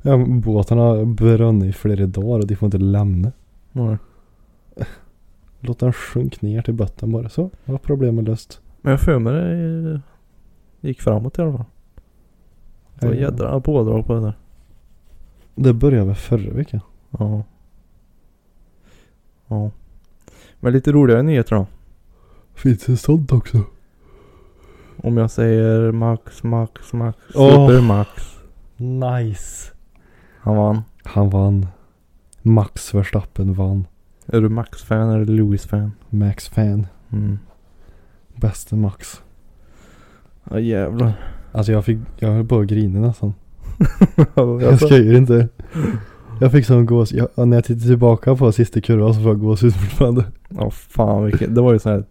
[SPEAKER 1] Ja, men båten har brunnit i flera dagar och de får inte lämna.
[SPEAKER 2] Nej.
[SPEAKER 1] Låt den sjunka ner till botten bara. Så, var problemet löst.
[SPEAKER 2] Men jag för mig det gick framåt i alla fall. Det var
[SPEAKER 1] Ja.
[SPEAKER 2] jädra pådrag på det där.
[SPEAKER 1] Eh, Det började väl förra veckan?
[SPEAKER 2] Ja. Ja. Men lite roligare nyheter då.
[SPEAKER 1] Finns det sånt också?
[SPEAKER 2] Om jag säger Max, Max, Max,
[SPEAKER 1] Åh.
[SPEAKER 2] Supermax.
[SPEAKER 1] Nice.
[SPEAKER 2] Han vann.
[SPEAKER 1] Han vann. Max Verstappen vann.
[SPEAKER 2] Är du Max-fan eller Lewis-fan?
[SPEAKER 1] Max fan.
[SPEAKER 2] Mm.
[SPEAKER 1] Bäste Max.
[SPEAKER 2] Ja jävlar.
[SPEAKER 1] Alltså jag fick, jag höll på att grina nästan. Jag
[SPEAKER 2] alltså,
[SPEAKER 1] skojar inte. Jag fick sån gås, jag, och när jag tittar tillbaka på sista kurvan så får jag gåshud fortfarande.
[SPEAKER 2] ja fan vilket. Det var ju sån här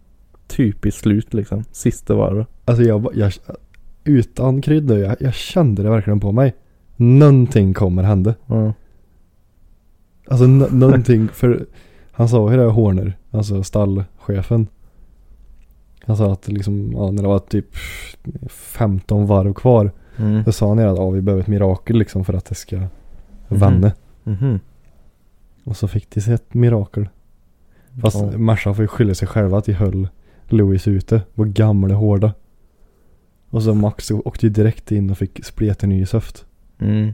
[SPEAKER 2] typiskt slut liksom. Sista varvet.
[SPEAKER 1] Alltså jag, ba- jag utan kryddor, jag, jag kände det verkligen på mig. Någonting kommer hända.
[SPEAKER 2] Ja.
[SPEAKER 1] Alltså n- någonting, för han sa ju det Horner, alltså stallchefen. Han sa att liksom, ja, när det var typ 15 varv kvar.
[SPEAKER 2] Mm.
[SPEAKER 1] Då sa han ju att ja, vi behöver ett mirakel liksom för att det ska vända.
[SPEAKER 2] Mhm.
[SPEAKER 1] Och så fick de sig ett mirakel. Fast
[SPEAKER 2] Ja.
[SPEAKER 1] Merca får ju skylla sig själva att de höll Louis ute. Var gamla hårda. Och så Max åkte ju direkt in och fick spleten ny söft.
[SPEAKER 2] Mm.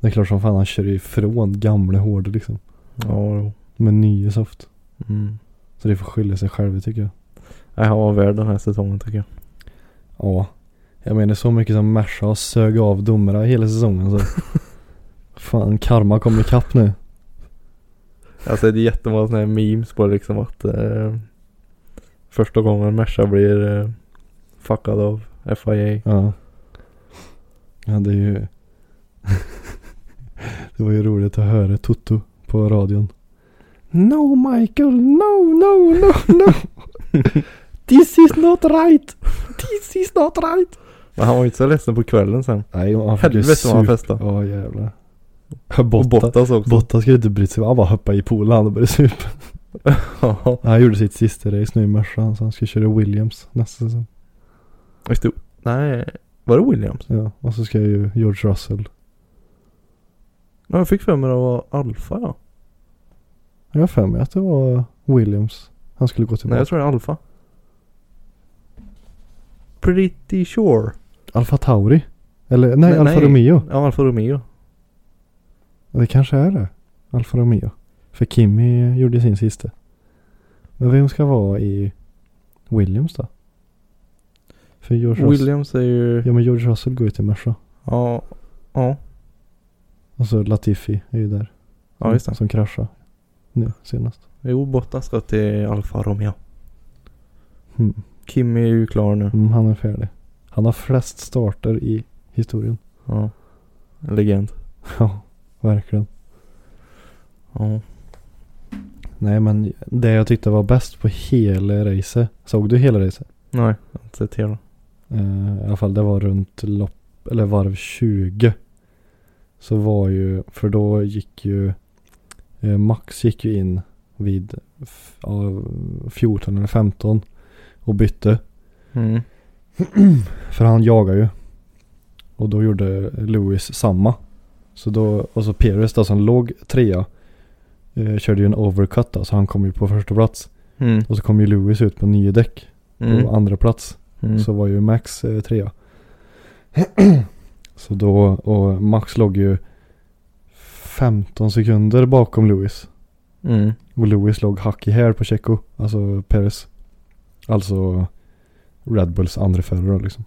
[SPEAKER 1] Det är klart som fan han kör ju ifrån gamla hårda liksom.
[SPEAKER 2] Ja jo.
[SPEAKER 1] Med ny söft.
[SPEAKER 2] Mm.
[SPEAKER 1] Så det får skylla sig själva tycker jag.
[SPEAKER 2] Nej, Han var värd den här säsongen tycker jag.
[SPEAKER 1] Ja. Jag menar så mycket som Merca har sög av domarna hela säsongen så. fan karma kommer ikapp nu.
[SPEAKER 2] Alltså det är jättemånga sådana här memes på liksom att eh, första gången Merca blir eh, fuckad av FIA.
[SPEAKER 1] Ja. Ja det är ju. det var ju roligt att höra Toto på radion. No Michael, no, no, no, no. This is not right. This is not right.
[SPEAKER 2] Men han var ju inte så ledsen på kvällen sen.
[SPEAKER 1] Nej, han fick ju
[SPEAKER 2] Helvete vad han festade.
[SPEAKER 1] Ja jävlar.
[SPEAKER 2] Och
[SPEAKER 1] Botta.
[SPEAKER 2] Bottas också.
[SPEAKER 1] Botta skulle inte brytt sig. Han bara hoppade i poolen och började supa.
[SPEAKER 2] Ja.
[SPEAKER 1] Han gjorde sitt sista race nu i morse. Så han ska köra Williams nästa säsong.
[SPEAKER 2] Just det. Nej, var det Williams?
[SPEAKER 1] Ja, och så ska ju George Russell.
[SPEAKER 2] Ja, jag fick för mig det var Alfa ja.
[SPEAKER 1] Jag har för mig att det var Williams. Han skulle gå tillbaka.
[SPEAKER 2] Nej, jag tror det är Alfa. Pretty sure.
[SPEAKER 1] Alfa Tauri? Eller nej,
[SPEAKER 2] Nej,
[SPEAKER 1] Alfa
[SPEAKER 2] nej.
[SPEAKER 1] Romeo.
[SPEAKER 2] Ja, Alfa Romeo.
[SPEAKER 1] Det kanske är det. Alfa Romeo. För Kimi gjorde sin sista. Men vem ska vara i Williams då? För George Russell.
[SPEAKER 2] Williams är ju...
[SPEAKER 1] Ja men George Russell går ju till Merca.
[SPEAKER 2] Ja. Ja.
[SPEAKER 1] Och så Alltså, Latifi är ju där.
[SPEAKER 2] Ja, just det.
[SPEAKER 1] Som kraschade nu senast.
[SPEAKER 2] Jo, Bottas ska till Alfa Romeo.
[SPEAKER 1] Mm.
[SPEAKER 2] Kimi är ju klar nu.
[SPEAKER 1] Mm, han är färdig. Han har flest starter i historien.
[SPEAKER 2] Ja. En legend.
[SPEAKER 1] Ja, verkligen.
[SPEAKER 2] Ja.
[SPEAKER 1] Nej men det jag tyckte var bäst på hela racet. Såg du hela racet?
[SPEAKER 2] Nej, jag har inte sett hela.
[SPEAKER 1] Eh, I alla fall det var runt lopp, eller varv 20. Så var ju, för då gick ju eh, Max gick ju in vid f- ja, 14 eller 15 och bytte.
[SPEAKER 2] Mm.
[SPEAKER 1] För han jagar ju. Och då gjorde Lewis samma. Så då, och så Perez då som låg trea. Eh, körde ju en overcut då, så han kom ju på första plats.
[SPEAKER 2] Mm.
[SPEAKER 1] Och så kom ju Lewis ut på nio däck på
[SPEAKER 2] Mm.
[SPEAKER 1] andra plats.
[SPEAKER 2] Mm.
[SPEAKER 1] Så var ju Max eh, trea. så då, och Max låg ju 15 sekunder bakom Lewis.
[SPEAKER 2] Mm.
[SPEAKER 1] Och Lewis låg hack i häl på Checo, alltså Perez. Alltså Red Bulls andra förare liksom.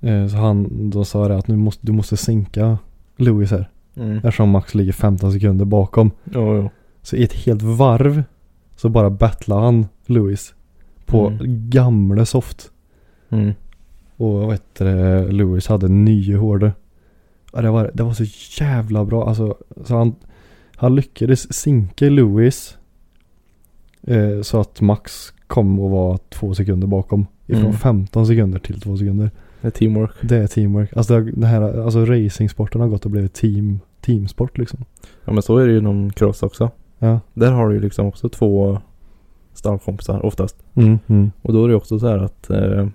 [SPEAKER 1] Eh, Så han, då sa det att nu måste, du måste sinka Lewis här.
[SPEAKER 2] Mm.
[SPEAKER 1] Eftersom Max ligger 15 sekunder bakom.
[SPEAKER 2] Jo, jo.
[SPEAKER 1] Så i ett helt varv så bara battlade han Lewis på
[SPEAKER 2] Mm.
[SPEAKER 1] gamla soft.
[SPEAKER 2] Mm.
[SPEAKER 1] Och vad heter det, Lewis hade nio hårde. Ja, det, var, det var så jävla bra. Alltså, så han, han lyckades sinka Lewis. Eh, så att Max kom och var två sekunder bakom. Ifrån
[SPEAKER 2] Mm.
[SPEAKER 1] 15 sekunder till två sekunder.
[SPEAKER 2] Det är teamwork.
[SPEAKER 1] Det är teamwork. Alltså, det, det här, alltså racingsporten har gått och blivit team, teamsport liksom.
[SPEAKER 2] Ja, men så är det ju inom cross också.
[SPEAKER 1] Ja.
[SPEAKER 2] Där har du ju liksom också två stallkompisar oftast.
[SPEAKER 1] Mm, mm,
[SPEAKER 2] Och då är det ju också så här att eh,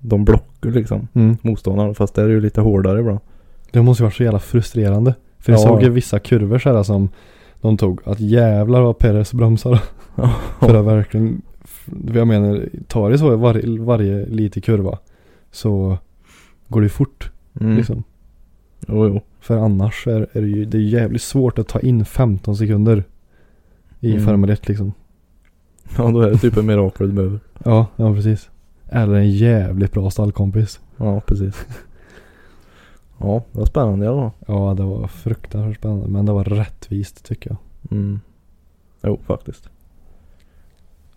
[SPEAKER 2] de blockar liksom
[SPEAKER 1] mm.
[SPEAKER 2] motståndarna. Fast där är det ju lite hårdare ibland.
[SPEAKER 1] Det måste ju varit så jävla frustrerande. För jag
[SPEAKER 2] Ja.
[SPEAKER 1] såg ju vissa kurvor så här som de tog. Att jävlar vad Perez bromsade. För att verkligen, f- jag menar, tar det så i varje, varje liten kurva så går det ju fort
[SPEAKER 2] Mm.
[SPEAKER 1] liksom.
[SPEAKER 2] Jo, jo.
[SPEAKER 1] För annars är, är det ju det är jävligt svårt att ta in 15 sekunder i
[SPEAKER 2] Mm.
[SPEAKER 1] Formel 1 liksom.
[SPEAKER 2] Ja, då är det typ en mirakel du behöver.
[SPEAKER 1] Ja, ja precis. Eller en jävligt bra stallkompis.
[SPEAKER 2] Ja, precis. Ja, det var spännande i alla fall.
[SPEAKER 1] Ja, det var fruktansvärt spännande men det var rättvist tycker jag.
[SPEAKER 2] Mm. Jo, faktiskt.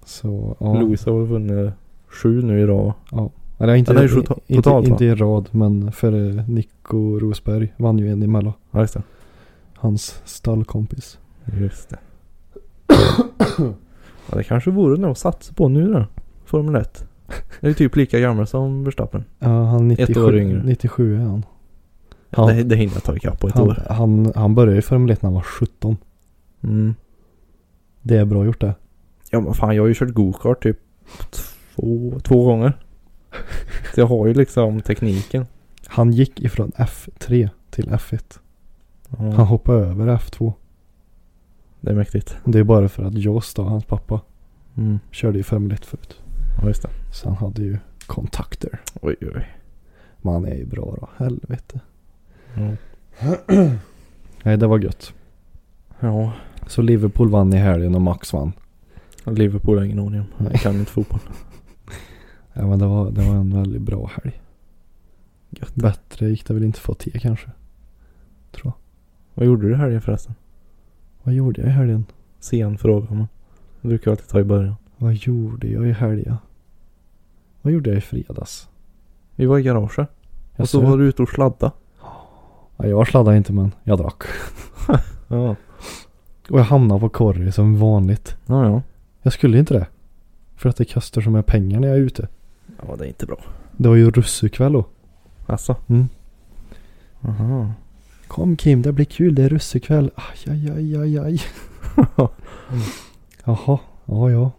[SPEAKER 1] Så ja.
[SPEAKER 2] Louis har väl vunnit sju nu i rad.
[SPEAKER 1] Eller inte,
[SPEAKER 2] Ja, det är ju tota-
[SPEAKER 1] inte,
[SPEAKER 2] totalt, va?
[SPEAKER 1] inte i rad men för eh, Nico Rosberg vann ju en emellan.
[SPEAKER 2] Ja, just det.
[SPEAKER 1] Hans stallkompis.
[SPEAKER 2] Just det. ja, det kanske vore något att satsa på nu då. Formel 1. Det är ju typ lika gamla som Verstappen.
[SPEAKER 1] Ja, han
[SPEAKER 2] Ett
[SPEAKER 1] 97,
[SPEAKER 2] år yngre.
[SPEAKER 1] 97 är han.
[SPEAKER 2] Ja.
[SPEAKER 1] Ja.
[SPEAKER 2] Det, det hinner jag ta ikapp på ett
[SPEAKER 1] han,
[SPEAKER 2] år.
[SPEAKER 1] Han, han började ju Formel 1 när han var 17.
[SPEAKER 2] Mm.
[SPEAKER 1] Det är bra gjort det.
[SPEAKER 2] Ja men fan jag har ju kört gokart typ två, två gånger. Så jag har ju liksom tekniken.
[SPEAKER 1] Han gick ifrån F3 till F1. Han
[SPEAKER 2] Ja,
[SPEAKER 1] hoppade över F2.
[SPEAKER 2] det är mäktigt.
[SPEAKER 1] Det är bara för att Jos då, hans pappa,
[SPEAKER 2] Mm.
[SPEAKER 1] körde ju Formel 1 förut.
[SPEAKER 2] Ja just det.
[SPEAKER 1] Så han hade ju kontakter.
[SPEAKER 2] Oj oj, oj.
[SPEAKER 1] Men han är ju bra då, helvete.
[SPEAKER 2] Ja.
[SPEAKER 1] Nej, det var gött.
[SPEAKER 2] Ja.
[SPEAKER 1] Så Liverpool vann i helgen och Max vann.
[SPEAKER 2] Liverpool har ingen aning om.
[SPEAKER 1] Nej.
[SPEAKER 2] Jag kan inte fotboll.
[SPEAKER 1] Ja, men det var, det var en väldigt bra helg.
[SPEAKER 2] Gött.
[SPEAKER 1] Bättre gick det väl inte att få till kanske. Tror jag.
[SPEAKER 2] Vad gjorde du här helgen förresten?
[SPEAKER 1] Vad gjorde jag i helgen?
[SPEAKER 2] Sen fråga man. Det brukar jag alltid ta i början.
[SPEAKER 1] Vad gjorde jag i helgen? Vad gjorde jag i fredags?
[SPEAKER 2] Vi var i garaget. Och så
[SPEAKER 1] Jag
[SPEAKER 2] var du ute och sladda.
[SPEAKER 1] Ja, jag sladdade inte men jag drack.
[SPEAKER 2] Ja.
[SPEAKER 1] Och jag hamnade på korri som vanligt.
[SPEAKER 2] Ja ja.
[SPEAKER 1] Jag skulle inte det. För att det kostar så mycket pengar när jag är ute.
[SPEAKER 2] Ja det är inte bra.
[SPEAKER 1] Det var ju russekväll då.
[SPEAKER 2] Alltså.
[SPEAKER 1] Mm.
[SPEAKER 2] Aha.
[SPEAKER 1] Kom Kim, det blir kul. Det är russekväll. Aj, aj, aj, aj, aj. Jaha, ja, ja.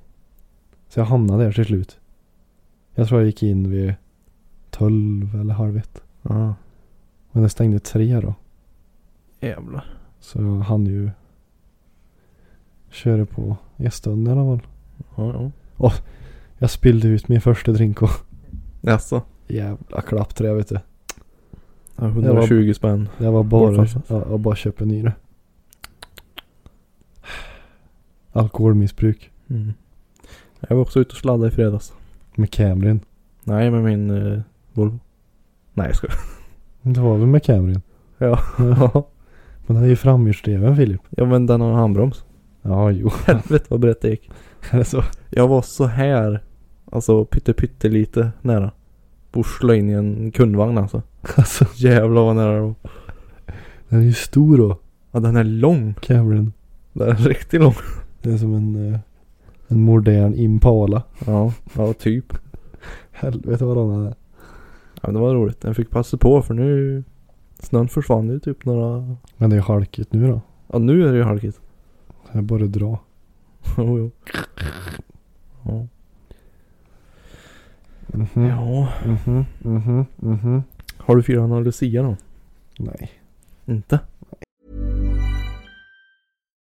[SPEAKER 1] Så jag hamnade där till slut. Jag tror jag gick in vid tolv eller halv ett.
[SPEAKER 2] Ja.
[SPEAKER 1] Men det stängde tre då.
[SPEAKER 2] Jävlar.
[SPEAKER 1] Så jag hann ju köra på i en stund i alla fall.
[SPEAKER 2] Ja ja.
[SPEAKER 1] Jag spillde ut min första drink och
[SPEAKER 2] Jaså?
[SPEAKER 1] jävla klappträ vet du.
[SPEAKER 2] Ja, 120 spänn.
[SPEAKER 1] Det var bara,
[SPEAKER 2] Bortfast.
[SPEAKER 1] ja, jag bara köpa en ny nu. Alkoholmissbruk
[SPEAKER 2] Mm. Jag var också ute och sladdade i fredags.
[SPEAKER 1] med Camryn.
[SPEAKER 2] Nej, med min eh, Volvo. Nej, jag skojar.
[SPEAKER 1] Det var väl med Camryn?
[SPEAKER 2] Ja.
[SPEAKER 1] Men den är ju framhjulsdriven Filip.
[SPEAKER 2] Ja men den har en handbroms.
[SPEAKER 1] Ja, jo.
[SPEAKER 2] Helvete vad brett det gick.
[SPEAKER 1] Är det så?
[SPEAKER 2] Jag var så här. Alltså pytte pyttelite nära. Borsla in i en kundvagn alltså.
[SPEAKER 1] Alltså,
[SPEAKER 2] Jävlar vad nära det var.
[SPEAKER 1] den är ju stor då.
[SPEAKER 2] Ja den är lång.
[SPEAKER 1] Cameron.
[SPEAKER 2] Den är riktigt lång.
[SPEAKER 1] Det är som en, eh, en modern Impala.
[SPEAKER 2] Ja, ja typ.
[SPEAKER 1] Helvete vad lång den är.
[SPEAKER 2] Ja, men det var roligt. Den fick passa på för nu. Snön försvann ju typ några.
[SPEAKER 1] Men det är halkigt nu då.
[SPEAKER 2] Ja nu är det ju halkigt.
[SPEAKER 1] Det är bara att dra.
[SPEAKER 2] Jo jo. Ja.
[SPEAKER 1] Mhm.
[SPEAKER 2] ja.
[SPEAKER 1] Mhm. Mhm. Mhm.
[SPEAKER 2] Har du firat någon Lucia då?
[SPEAKER 1] Nej.
[SPEAKER 2] Inte?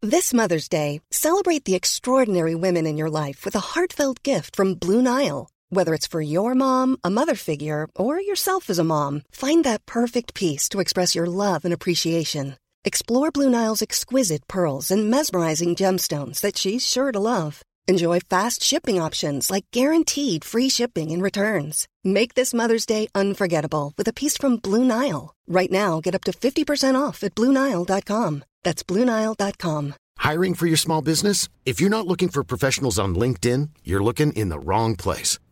[SPEAKER 3] This Mother's Day, celebrate the extraordinary women in your life with a heartfelt gift from Blue Nile. Whether it's for your mom, a mother figure, or yourself as a mom, find that perfect piece to express your love and appreciation. Explore Blue Nile's exquisite pearls and mesmerizing gemstones that she's sure to love. Enjoy fast shipping options like guaranteed free shipping and returns. Make this Mother's Day unforgettable with a piece from Blue Nile. Right now, get up to 50% off at BlueNile.com. That's BlueNile.com.
[SPEAKER 4] Hiring for your small business? If you're not looking for professionals on LinkedIn, you're looking in the wrong place.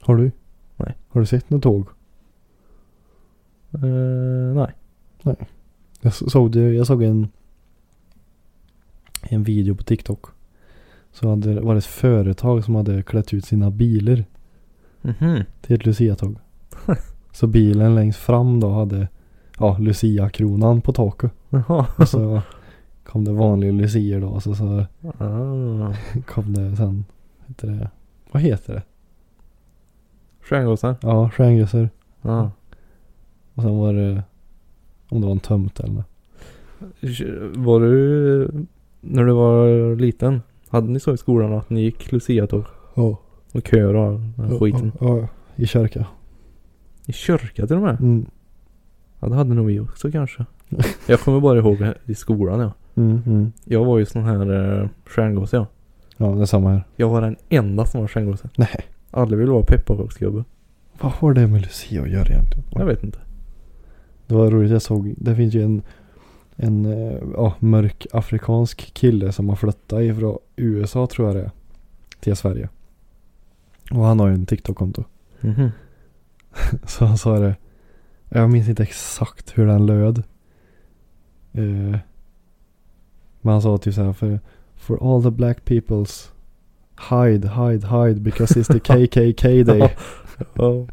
[SPEAKER 1] Har du?
[SPEAKER 2] Nej.
[SPEAKER 1] Har du sett något tåg?
[SPEAKER 2] Eh, nej.
[SPEAKER 1] Jag s- såg, det, jag såg en, en video på TikTok. Så hade, det- var det ett företag som hade klätt ut sina bilar
[SPEAKER 2] Mhm.
[SPEAKER 1] till ett Lucia-tåg. så bilen längst fram då hade ja, Lucia-kronan på taket.
[SPEAKER 2] Jaha.
[SPEAKER 1] Och så kom det vanliga Lucia då. Och så, så
[SPEAKER 2] Ah.
[SPEAKER 1] kom det sen. Heter det, vad heter det?
[SPEAKER 2] Stjärngossar?
[SPEAKER 1] Ja, stjärngösser.
[SPEAKER 2] Ja.
[SPEAKER 1] Och sen var det om det var en tömt eller något.
[SPEAKER 2] Var du, när du var liten, hade ni så i skolan att ni gick luciatåg?
[SPEAKER 1] Ja.
[SPEAKER 2] Och köer och all den här skiten?
[SPEAKER 1] Ja, ja. I kyrka.
[SPEAKER 2] I kyrka till och med?
[SPEAKER 1] Mm.
[SPEAKER 2] Ja det hade nog vi också kanske. Jag kommer bara ihåg i skolan ja.
[SPEAKER 1] Mm, mm.
[SPEAKER 2] Jag var ju sån här eh, stjärngosse ja.
[SPEAKER 1] Ja, det är samma här.
[SPEAKER 2] Jag var den enda som var stjärngosse.
[SPEAKER 1] Nej.
[SPEAKER 2] Alla ville vara pepparkaksgubbe.
[SPEAKER 1] Vad har det med Lucia att göra egentligen?
[SPEAKER 2] Jag vet inte.
[SPEAKER 1] Det var roligt, jag såg, det finns ju en, en eh, ja, mörk afrikansk kille som har flyttat ifrån USA tror jag det är. Till Sverige. Och han har ju en TikTok-konto.
[SPEAKER 2] Mhm.
[SPEAKER 1] Så han sa det. Jag minns inte exakt hur den löd. Eh, men han sa typ så här för For all the black peoples Hide, hide, hide because it's the KKK day.
[SPEAKER 2] Ja.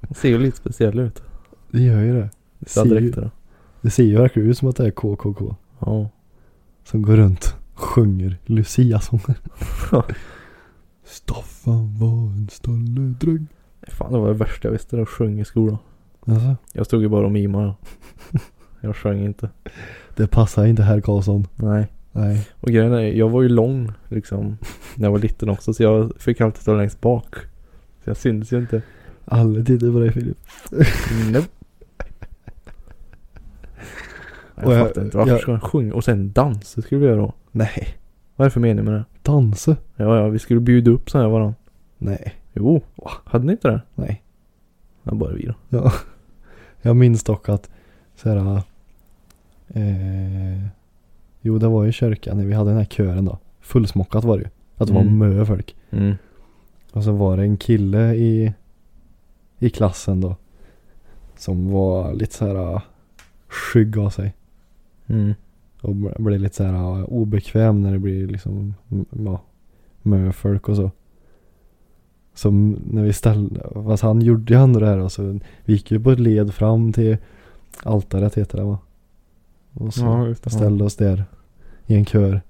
[SPEAKER 2] Han ser ju lite speciell ut.
[SPEAKER 1] Det gör ju det. Det
[SPEAKER 2] Vissa
[SPEAKER 1] ser ju,
[SPEAKER 2] dräkter.
[SPEAKER 1] det ser ju verkligen ut som att det är KKK.
[SPEAKER 2] Ja.
[SPEAKER 1] Som går runt och sjunger Lucia-sånger.
[SPEAKER 2] Ja.
[SPEAKER 1] Staffan var en stolledräng.
[SPEAKER 2] Fan det var det värsta jag visste. Jag sjöng i skolan.
[SPEAKER 1] Alltså,
[SPEAKER 2] Jag stod ju bara och mimade. ja. Jag sjöng inte.
[SPEAKER 1] det passar inte herr Karlsson.
[SPEAKER 2] Nej.
[SPEAKER 1] Nej.
[SPEAKER 2] Och grejen är, jag var ju lång liksom. När jag var liten också. Så jag fick alltid stå längst bak. Så jag syntes ju inte.
[SPEAKER 1] Alla tittar på dig Filip.
[SPEAKER 2] Nej. Jag
[SPEAKER 1] Och jag-
[SPEAKER 2] fattar inte. Varför
[SPEAKER 1] jag-
[SPEAKER 2] ska man sjunga? Och sen dans. Det skulle vi göra då.
[SPEAKER 1] Nej.
[SPEAKER 2] Vad är det för mening med det?
[SPEAKER 1] Dansa?
[SPEAKER 2] Ja, ja. Vi skulle bjuda upp så här varandra.
[SPEAKER 1] Nej.
[SPEAKER 2] Jo. Hade ni inte det?
[SPEAKER 1] Nej.
[SPEAKER 2] Ja, bara vi då.
[SPEAKER 1] Ja. Jag minns dock att så här, eh, Jo det var ju kyrkan när vi hade den här kören då. Fullsmockat var det ju. Att det var
[SPEAKER 2] Mm.
[SPEAKER 1] mö folk.
[SPEAKER 2] Mm.
[SPEAKER 1] Och så var det en kille i, i klassen då. Som var lite så här äh, skygg av sig.
[SPEAKER 2] Mm.
[SPEAKER 1] Och b- blev lite så här äh, obekväm när det blir liksom m- ja, mö folk och så. Som när vi ställde, fast han gjorde ju ändå det här då, så vi gick ju på ett led fram till altaret heter det va? Och så
[SPEAKER 2] Ja, just det.
[SPEAKER 1] ställde oss där i en kör.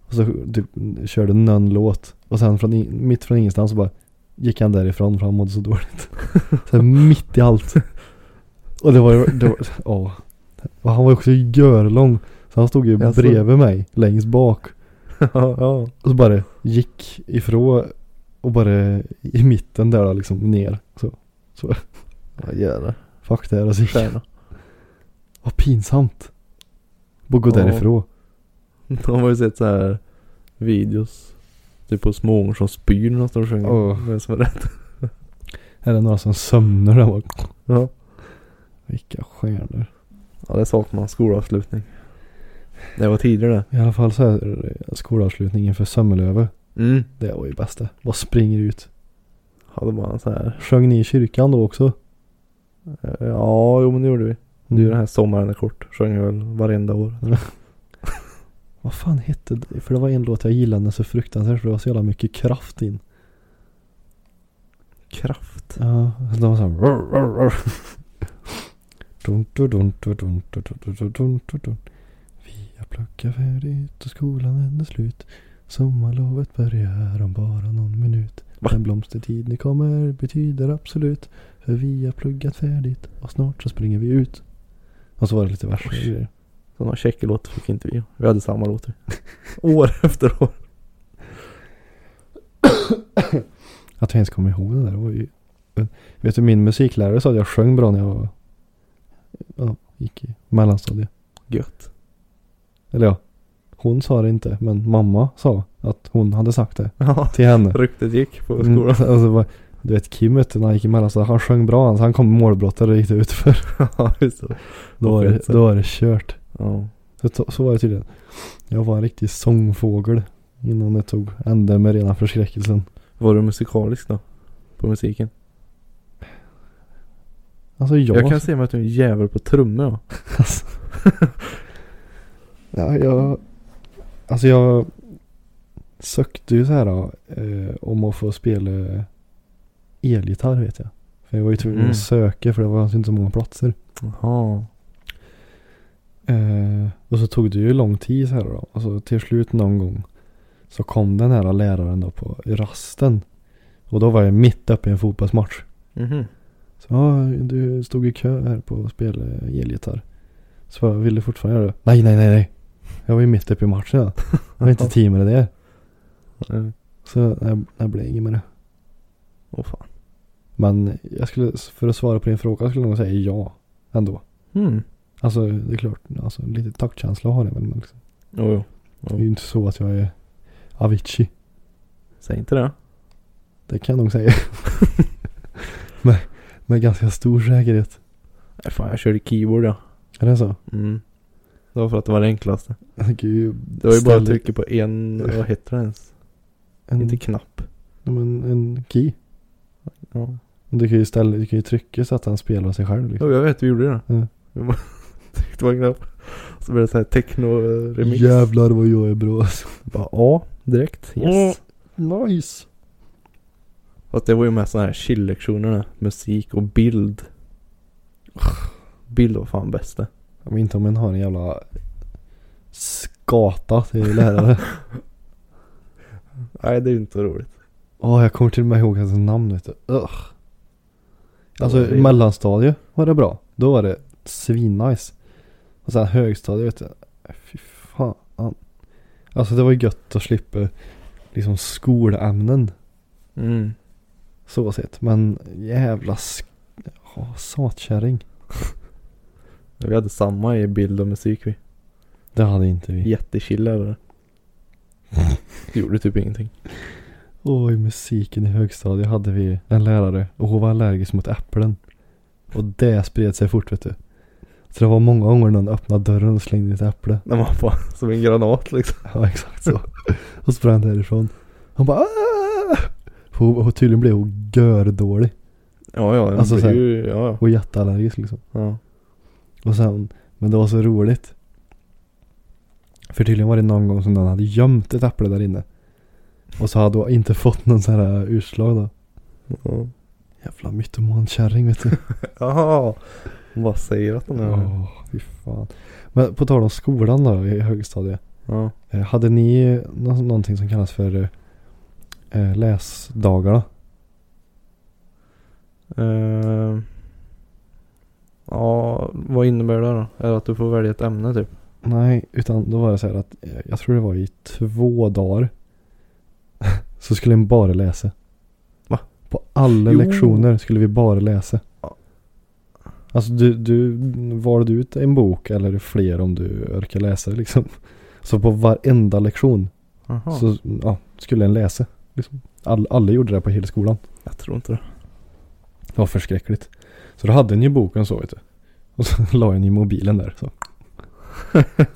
[SPEAKER 1] Och så typ, körde någon låt. Och sen från, in- mitt från ingenstans så bara gick han därifrån för han mådde så dåligt. så här, mitt i allt. Och det var ju, det var, ja. Och Han var också görlång. Så han stod ju
[SPEAKER 2] Jaså?
[SPEAKER 1] bredvid mig längst bak.
[SPEAKER 2] ja.
[SPEAKER 1] Och så bara gick ifrån och bara i mitten där då, liksom ner. Så. Så.
[SPEAKER 2] Ja jävlar.
[SPEAKER 1] Fuck det här alltså.
[SPEAKER 2] Stjärna.
[SPEAKER 1] Vad pinsamt. Bara gå
[SPEAKER 2] Ja.
[SPEAKER 1] därifrån.
[SPEAKER 2] De har ju sett så här videos. Typ på småungar som spyr när de står och sjunger.
[SPEAKER 1] Åh.
[SPEAKER 2] Vem som är rätt.
[SPEAKER 1] Här är några som sömnar där bak.
[SPEAKER 2] Ja.
[SPEAKER 1] Vilka stjärnor.
[SPEAKER 2] ja det saknar man. Skolavslutning. Det var tidigare
[SPEAKER 1] I alla fall så här skolavslutningen för Sömmelöve.
[SPEAKER 2] det. Mm.
[SPEAKER 1] Det var ju bästa. Bara springer ut.
[SPEAKER 2] Hade man så här.
[SPEAKER 1] Sjöng ni i kyrkan då också?
[SPEAKER 2] eh, Ja jo men det gjorde vi. Du den här sommaren är kort. Sjöng jag väl varenda år.
[SPEAKER 1] Vad fan hette det? För det var en låt jag gillade så fruktansvärt för det var så jävla mycket kraft in.
[SPEAKER 2] Kraft.
[SPEAKER 1] Ja, det var såhär. Dun, dun, dun, dun, dun, dun, dun, dun, dun, dun, dun. Vi har pluggat färdigt och skolan är slut. Sommarlovet börjar om bara någon minut.
[SPEAKER 2] Va?
[SPEAKER 1] Den blomstertid nu kommer betyder absolut. För vi har pluggat färdigt och snart så springer vi ut. Och så var det lite värsta
[SPEAKER 2] Oj.
[SPEAKER 1] grejer.
[SPEAKER 2] Sådana tjeckerlåt fick inte vi. Vi hade samma låt. vi. år efter år.
[SPEAKER 1] Att jag ens kommer ihåg det där det var ju... Men, Vet du min musiklärare sa att jag sjöng bra när jag var- ja, gick i mellanstadiet.
[SPEAKER 2] Gött.
[SPEAKER 1] Eller ja, hon sa det inte men mamma sa att hon hade sagt det
[SPEAKER 2] Ja.
[SPEAKER 1] till henne.
[SPEAKER 2] Ryktet gick på
[SPEAKER 1] Mm,
[SPEAKER 2] skolan.
[SPEAKER 1] alltså, vad- du vet Kim vet du, när han gick i mellanstadiet, han sjöng bra alltså, han, så han kom i målbrottet och gick det utför.
[SPEAKER 2] ja just det.
[SPEAKER 1] Då var det, då var det kört.
[SPEAKER 2] Ja.
[SPEAKER 1] Så, to- så var det tydligen. Jag var en riktig sångfågel innan det tog ände med rena förskräckelsen.
[SPEAKER 2] Var du musikalisk då? På musiken?
[SPEAKER 1] Alltså jag...
[SPEAKER 2] Jag kan se mig att du är en jävel på trummor ja.
[SPEAKER 1] Alltså. ja, jag... Alltså jag sökte ju så här då, eh, om att få spela elgitarr vet jag. För jag var ju tvungen
[SPEAKER 2] Mm.
[SPEAKER 1] att söka för det var inte så många platser.
[SPEAKER 2] Jaha.
[SPEAKER 1] Eh, och så tog det ju lång tid så här då. Och så till slut någon gång så kom den här läraren då på rasten. Och då var jag mitt uppe i en fotbollsmatch.
[SPEAKER 2] Mhm.
[SPEAKER 1] Så, ja, du stod i kö här på att spela elgitarr. Så jag ville fortfarande göra det. Nej, nej, nej, nej. Jag var ju mitt uppe i matchen. Ja. Jag har inte tid med det där.
[SPEAKER 2] Mm.
[SPEAKER 1] Så jag, jag blev ingen med det.
[SPEAKER 2] Åh fan.
[SPEAKER 1] Men jag skulle, för att svara på din fråga skulle jag nog säga ja. Ändå.
[SPEAKER 2] Mm.
[SPEAKER 1] Alltså det är klart, alltså, lite taktkänsla har jag väl. Men liksom,
[SPEAKER 2] Jo, jo.
[SPEAKER 1] det är ju inte så att jag är Avicii.
[SPEAKER 2] Säg inte det.
[SPEAKER 1] Det kan jag nog säga. med, med ganska stor säkerhet.
[SPEAKER 2] Nej, fan jag körde keyboard ja.
[SPEAKER 1] Är det så?
[SPEAKER 2] Mm. Det var för att det var det enklaste.
[SPEAKER 1] Gud,
[SPEAKER 2] Det var ju bara att
[SPEAKER 1] ställ-
[SPEAKER 2] trycka på en, vad heter det ens?
[SPEAKER 1] en,
[SPEAKER 2] Inte knapp.
[SPEAKER 1] ja, men en key.
[SPEAKER 2] Ja.
[SPEAKER 1] Men Du kan ju ställa, du kan ju trycka så att han spelar sig själv liksom.
[SPEAKER 2] Jo, jag vet vi gjorde det.
[SPEAKER 1] Mm.
[SPEAKER 2] Vi bara tryckte på en knapp. Så blev det så här techno-remix.
[SPEAKER 1] Jävlar vad jag är bra alltså.
[SPEAKER 2] Bara ja, direkt. Yes.
[SPEAKER 1] Nice.
[SPEAKER 2] Fast det var ju med sådana här chill-lektionerna. Musik och bild. Bild var fan bäst det.
[SPEAKER 1] Jag vet inte om en har en jävla skata till lärare.
[SPEAKER 2] Nej det är ju inte roligt.
[SPEAKER 1] Åh jag kommer till och med ihåg hans namn vet du. Ugh. Alltså
[SPEAKER 2] Det var det.
[SPEAKER 1] mellanstadiet var det bra. Då var det svinnice. Och sen högstadiet vet du. Fy fan. Alltså det var ju gött att slippa liksom skolämnen.
[SPEAKER 2] Mm.
[SPEAKER 1] Så sett. Men jävla sk- oh, satkärring.
[SPEAKER 2] Vi hade samma i bild och musik vi.
[SPEAKER 1] Det hade inte vi.
[SPEAKER 2] Jättechill eller? Gjorde typ ingenting.
[SPEAKER 1] Och i musiken i högstadiet hade vi en lärare och hon var allergisk mot äpplen. Och det spred sig fort vet du. Så det var många gånger någon öppnade dörren och slängde in ett äpple.
[SPEAKER 2] När man bara, som en granat liksom.
[SPEAKER 1] Ja exakt så. Och sprang därifrån. Hon bara "Aah!" hon, hon Tydligen blev hon gördålig.
[SPEAKER 2] Ja ja,
[SPEAKER 1] Alltså,
[SPEAKER 2] alltså,
[SPEAKER 1] så här-
[SPEAKER 2] ju, ja ja.
[SPEAKER 1] Och jätteallergisk liksom.
[SPEAKER 2] ja.
[SPEAKER 1] Och sen, men det var så roligt. För tydligen var det någon gång som någon hade gömt ett äpple där inne. Och så hade hon inte fått någon sån här utslag då.
[SPEAKER 2] ja.
[SPEAKER 1] Jävla mytomankärring vet du.
[SPEAKER 2] Jaha. Vad säger att de är?
[SPEAKER 1] Ja, fy fan. Men på tal om skolan då i högstadiet.
[SPEAKER 2] Ja.
[SPEAKER 1] Eh, Hade ni nå- någonting som kallas för eh, läsdagarna?
[SPEAKER 2] Ehm, Ja, vad innebär det då? Är det att du får välja ett ämne typ?
[SPEAKER 1] Nej, utan då var det så här att eh, jag tror det var i två dagar. Så skulle en bara läsa.
[SPEAKER 2] Va?
[SPEAKER 1] På alla
[SPEAKER 2] Jo.
[SPEAKER 1] lektioner skulle vi bara läsa.
[SPEAKER 2] Ja.
[SPEAKER 1] Alltså du, du valde ut en bok eller fler om du orkar läsa liksom. Så på varenda lektion
[SPEAKER 2] Aha.
[SPEAKER 1] så ja, skulle en läsa. Liksom. All, alla gjorde det på hela skolan.
[SPEAKER 2] Jag tror inte det.
[SPEAKER 1] Det var förskräckligt. Så då hade en ju boken så vet du. Och så la en i mobilen där. Så.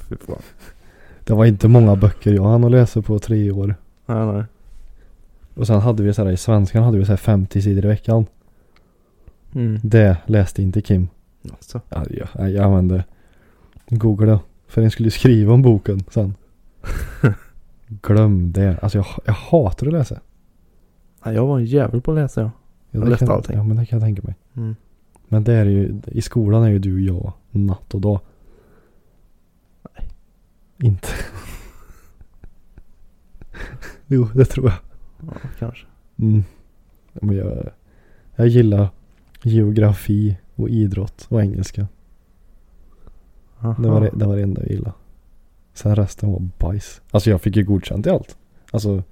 [SPEAKER 2] Fy fan.
[SPEAKER 1] Det var inte många böcker jag hann att läsa på tre år.
[SPEAKER 2] Nej, nej.
[SPEAKER 1] Och sen hade vi så här i svenskan hade vi så här 50 sidor i veckan.
[SPEAKER 2] Mm.
[SPEAKER 1] Det läste inte Kim.
[SPEAKER 2] Alltså.
[SPEAKER 1] Ja, Jag, jag, jag använde Google för den skulle ju skriva om boken sen. Glöm det. Alltså jag, jag hatar att läsa.
[SPEAKER 2] Nej, jag var en jävel på att läsa jag.
[SPEAKER 1] Jag,
[SPEAKER 2] Jag
[SPEAKER 1] det
[SPEAKER 2] läste
[SPEAKER 1] kan,
[SPEAKER 2] allting.
[SPEAKER 1] Ja men det kan jag tänka mig.
[SPEAKER 2] Mm.
[SPEAKER 1] Men det är ju, i skolan är ju du och jag natt och dag. Nej. Inte. jo, det tror jag.
[SPEAKER 2] Ja, kanske.
[SPEAKER 1] Mm. Men jag, jag gillar geografi och idrott och engelska.
[SPEAKER 2] Aha.
[SPEAKER 1] Det var det, det var det enda jag gillade. Sen resten var bajs. Alltså jag fick ju godkänt i allt. Alltså,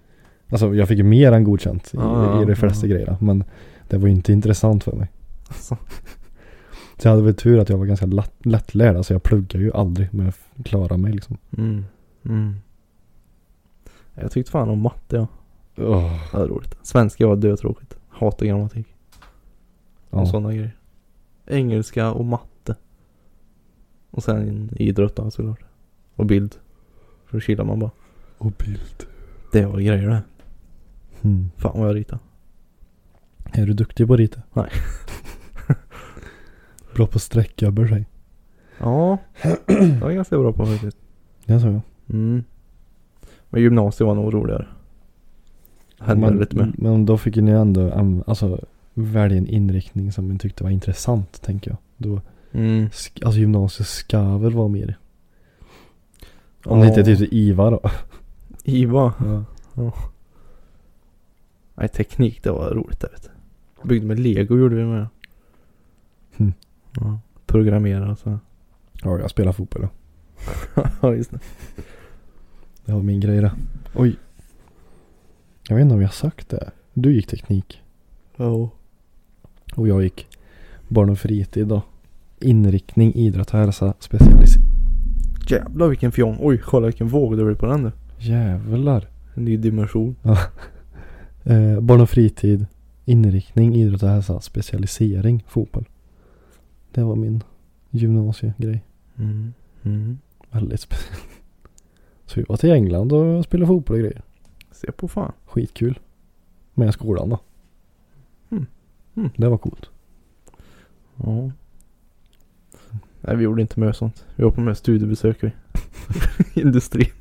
[SPEAKER 1] alltså jag fick ju mer än godkänt i,
[SPEAKER 2] Ja, ja,
[SPEAKER 1] i de flesta
[SPEAKER 2] ja.
[SPEAKER 1] grejerna. Men det var ju inte intressant för mig.
[SPEAKER 2] Alltså.
[SPEAKER 1] Så jag hade väl tur att jag var ganska lätt, lättlärd. Alltså jag pluggade ju aldrig men jag klarade mig liksom.
[SPEAKER 2] Mm. Mm. Jag tyckte fan om matte ja.
[SPEAKER 1] Oh,
[SPEAKER 2] Det var roligt. Svenska var dötråkigt. Hatar grammatik.
[SPEAKER 1] ja.
[SPEAKER 2] Och sådana grejer. Engelska och matte. Och sen idrott då såklart. Och bild. För då chillar man bara.
[SPEAKER 1] Och bild.
[SPEAKER 2] Det var grejer det.
[SPEAKER 1] Mm.
[SPEAKER 2] Fan vad jag ritade.
[SPEAKER 1] Är du duktig på att rita?
[SPEAKER 2] Nej.
[SPEAKER 1] Bra på streckgubbar sig.
[SPEAKER 2] Ja. Det var jag ganska bra på faktiskt.
[SPEAKER 1] Det sa jag.
[SPEAKER 2] Mm. Men gymnasiet var nog roligare. Hände
[SPEAKER 1] men,
[SPEAKER 2] lite mer.
[SPEAKER 1] men då fick ju ni ändå äm, alltså, välja en inriktning som ni tyckte var intressant tänker jag. Då,
[SPEAKER 2] Mm.
[SPEAKER 1] sk- alltså gymnasiet ska väl vara mer. Om det inte är
[SPEAKER 2] Ja.
[SPEAKER 1] typ så IVA då.
[SPEAKER 2] IVA.
[SPEAKER 1] Ja.
[SPEAKER 2] Nej teknik det var roligt det vet du. Byggde med lego gjorde vi med. Hm.
[SPEAKER 1] Mm.
[SPEAKER 2] Ja. Programmera och så.
[SPEAKER 1] jag spelar fotboll då.
[SPEAKER 2] Ja just det.
[SPEAKER 1] Det var min grej det. Oj. Jag vet inte om jag har sagt det. Du gick teknik.
[SPEAKER 2] Ja.
[SPEAKER 1] Och jag gick barn och fritid då. Inriktning idrott och hälsa specialist.
[SPEAKER 2] Jävlar vilken fjong. Oj kolla vilken våg det blev på den nu.
[SPEAKER 1] Jävlar.
[SPEAKER 2] En ny dimension.
[SPEAKER 1] Eh, barn och fritid, inriktning, idrott och hälsa, specialisering, fotboll. Det var min gymnasiegrej.
[SPEAKER 2] Mm. Mm.
[SPEAKER 1] Väldigt speciell. Så vi var till England och spelade fotboll och grejer.
[SPEAKER 2] Se på fan.
[SPEAKER 1] Skitkul. Med skolan då. Hmm.
[SPEAKER 2] Mm. Mm.
[SPEAKER 1] Det var coolt.
[SPEAKER 2] Ja. Nej vi gjorde inte mer sånt. Vi var på mer studiebesök vi. Industri.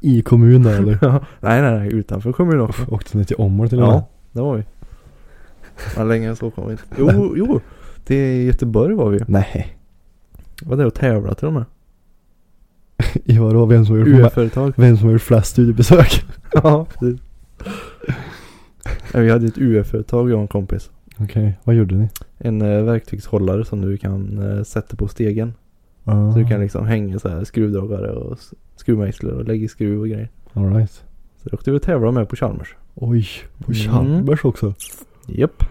[SPEAKER 1] I kommunen eller?
[SPEAKER 2] Ja. nej nej nej utanför kommunen också.
[SPEAKER 1] Åkte ni till Åmål till och med?
[SPEAKER 2] Ja det var vi. Men längre så kom vi inte. Jo jo. Till Göteborg var vi ju.
[SPEAKER 1] Nej.
[SPEAKER 2] Var där och tävlade till och med.
[SPEAKER 1] I vadå? Vem som har gjort,
[SPEAKER 2] UF-företag.
[SPEAKER 1] vem som har gjort flest studiebesök?
[SPEAKER 2] Ja, precis. Nej, Vi hade ett UF-företag jag och en kompis.
[SPEAKER 1] Okej, vad gjorde ni?
[SPEAKER 2] En eh, verktygshållare som du kan eh, sätta på stegen. Så du kan liksom hänga så här skruvdragare och s- skruvmejslar och lägga i skruv och grejer.
[SPEAKER 1] Alright.
[SPEAKER 2] Så då åkte vi och tävlade med på Chalmers.
[SPEAKER 1] Oj, på
[SPEAKER 2] Mm.
[SPEAKER 1] Chalmers också.
[SPEAKER 2] Japp.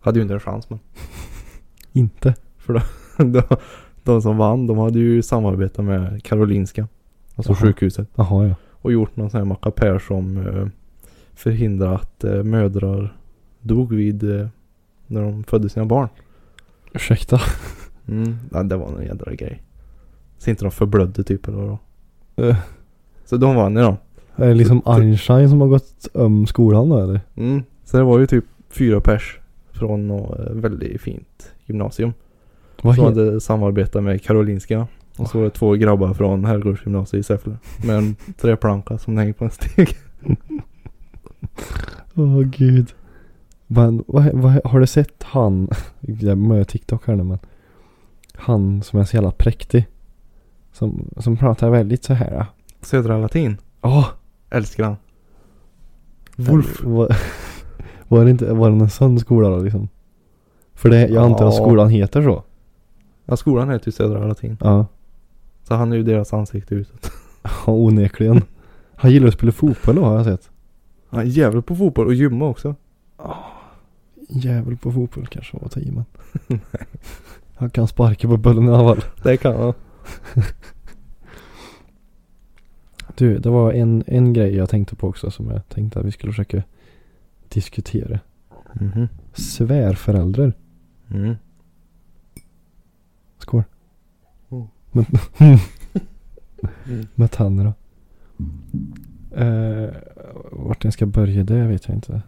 [SPEAKER 2] Hade ju inte en chans men.
[SPEAKER 1] Inte.
[SPEAKER 2] de, de som vann de hade ju samarbetat med Karolinska. Alltså
[SPEAKER 1] Jaha.
[SPEAKER 2] sjukhuset.
[SPEAKER 1] Jaha ja.
[SPEAKER 2] Och gjort någon sån här mackapär som eh, förhindrar att eh, mödrar dog vid eh, när de födde sina barn.
[SPEAKER 1] Ursäkta.
[SPEAKER 2] Mm, ja, det var någon jädra grej. Så inte de förblödde typ eller vadå?
[SPEAKER 1] Eh.
[SPEAKER 2] Så de vann ju då.
[SPEAKER 1] Är det liksom Einstein som har gått om skolan då eller?
[SPEAKER 2] Mm. Så det var ju typ fyra pers från något eh, väldigt fint gymnasium.
[SPEAKER 1] Vad
[SPEAKER 2] Som
[SPEAKER 1] heter
[SPEAKER 2] hade samarbetat med Karolinska. Och så var det två grabbar från herrgårdsgymnasiet i Säffle. Med en träplanka som hänger på en steg.
[SPEAKER 1] Åh gud. Men vad, vad, har du sett han, jag möter TikTok här nu men. Han som är så jävla präktig. Som, som pratar väldigt så här. ah.
[SPEAKER 2] Södra Latin.
[SPEAKER 1] Ja.
[SPEAKER 2] Älskar han.
[SPEAKER 1] Wolf. Var, var det inte, var det en sån skola då liksom? För det, jag antar att
[SPEAKER 2] Ja.
[SPEAKER 1] skolan heter så.
[SPEAKER 2] Ja, skolan heter ju Södra Latin.
[SPEAKER 1] Ja.
[SPEAKER 2] Så han är ju deras ansikte utåt.
[SPEAKER 1] Ja, onekligen. Han gillar att spela fotboll då har jag sett.
[SPEAKER 2] Han är jävligt på fotboll och gymma också.
[SPEAKER 1] Jävel på fotboll kanske var att ta i men. Han kan sparka på bollen i alla fall.
[SPEAKER 2] Det kan han.
[SPEAKER 1] Du, det var en, en grej jag tänkte på också som jag tänkte att vi skulle försöka diskutera.
[SPEAKER 2] Mhm.
[SPEAKER 1] Svärföräldrar.
[SPEAKER 2] Mm.
[SPEAKER 1] Skål.
[SPEAKER 2] Mm.
[SPEAKER 1] Med, med Tanner då. Eh, vart jag ska börja det vet jag inte.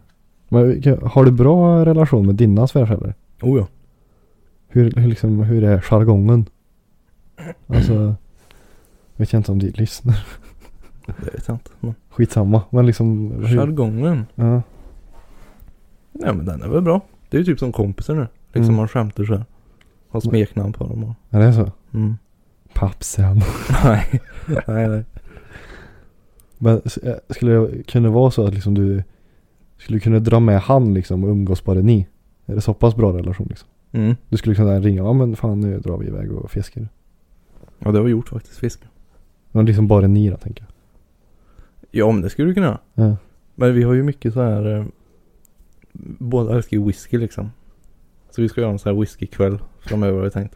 [SPEAKER 1] Men vilka- har du bra relation med dina svärföräldrar?
[SPEAKER 2] Oh ja.
[SPEAKER 1] Hur, hur, liksom, hur är jargongen? Alltså, vet jag inte om de lyssnar.
[SPEAKER 2] Det vet jag inte. Men
[SPEAKER 1] Skitsamma, men liksom. Hur,
[SPEAKER 2] jargongen.
[SPEAKER 1] ja,
[SPEAKER 2] Nej men den är väl bra. Det är ju typ som kompisar nu. Liksom
[SPEAKER 1] Mm.
[SPEAKER 2] man skämtar så här. Har smeknamn på dem och.
[SPEAKER 1] är det så?
[SPEAKER 2] Mm.
[SPEAKER 1] Pappsen.
[SPEAKER 2] nej. nej, nej.
[SPEAKER 1] Men s- eh, skulle det kunna vara så att liksom du skulle kunna dra med han liksom och umgås bara ni? Är det så pass bra relation liksom?
[SPEAKER 2] Mm.
[SPEAKER 1] Du skulle kunna ringa, ja men fan nu drar vi iväg och fiskar.
[SPEAKER 2] Ja det har vi gjort faktiskt. Fisk.
[SPEAKER 1] Men liksom bara ni då tänker jag.
[SPEAKER 2] Ja men det skulle du kunna.
[SPEAKER 1] Ja.
[SPEAKER 2] Men vi har ju mycket så här. Eh, båda älskar ju whisky liksom. Så vi ska göra en sån här whiskykväll framöver har vi tänkt.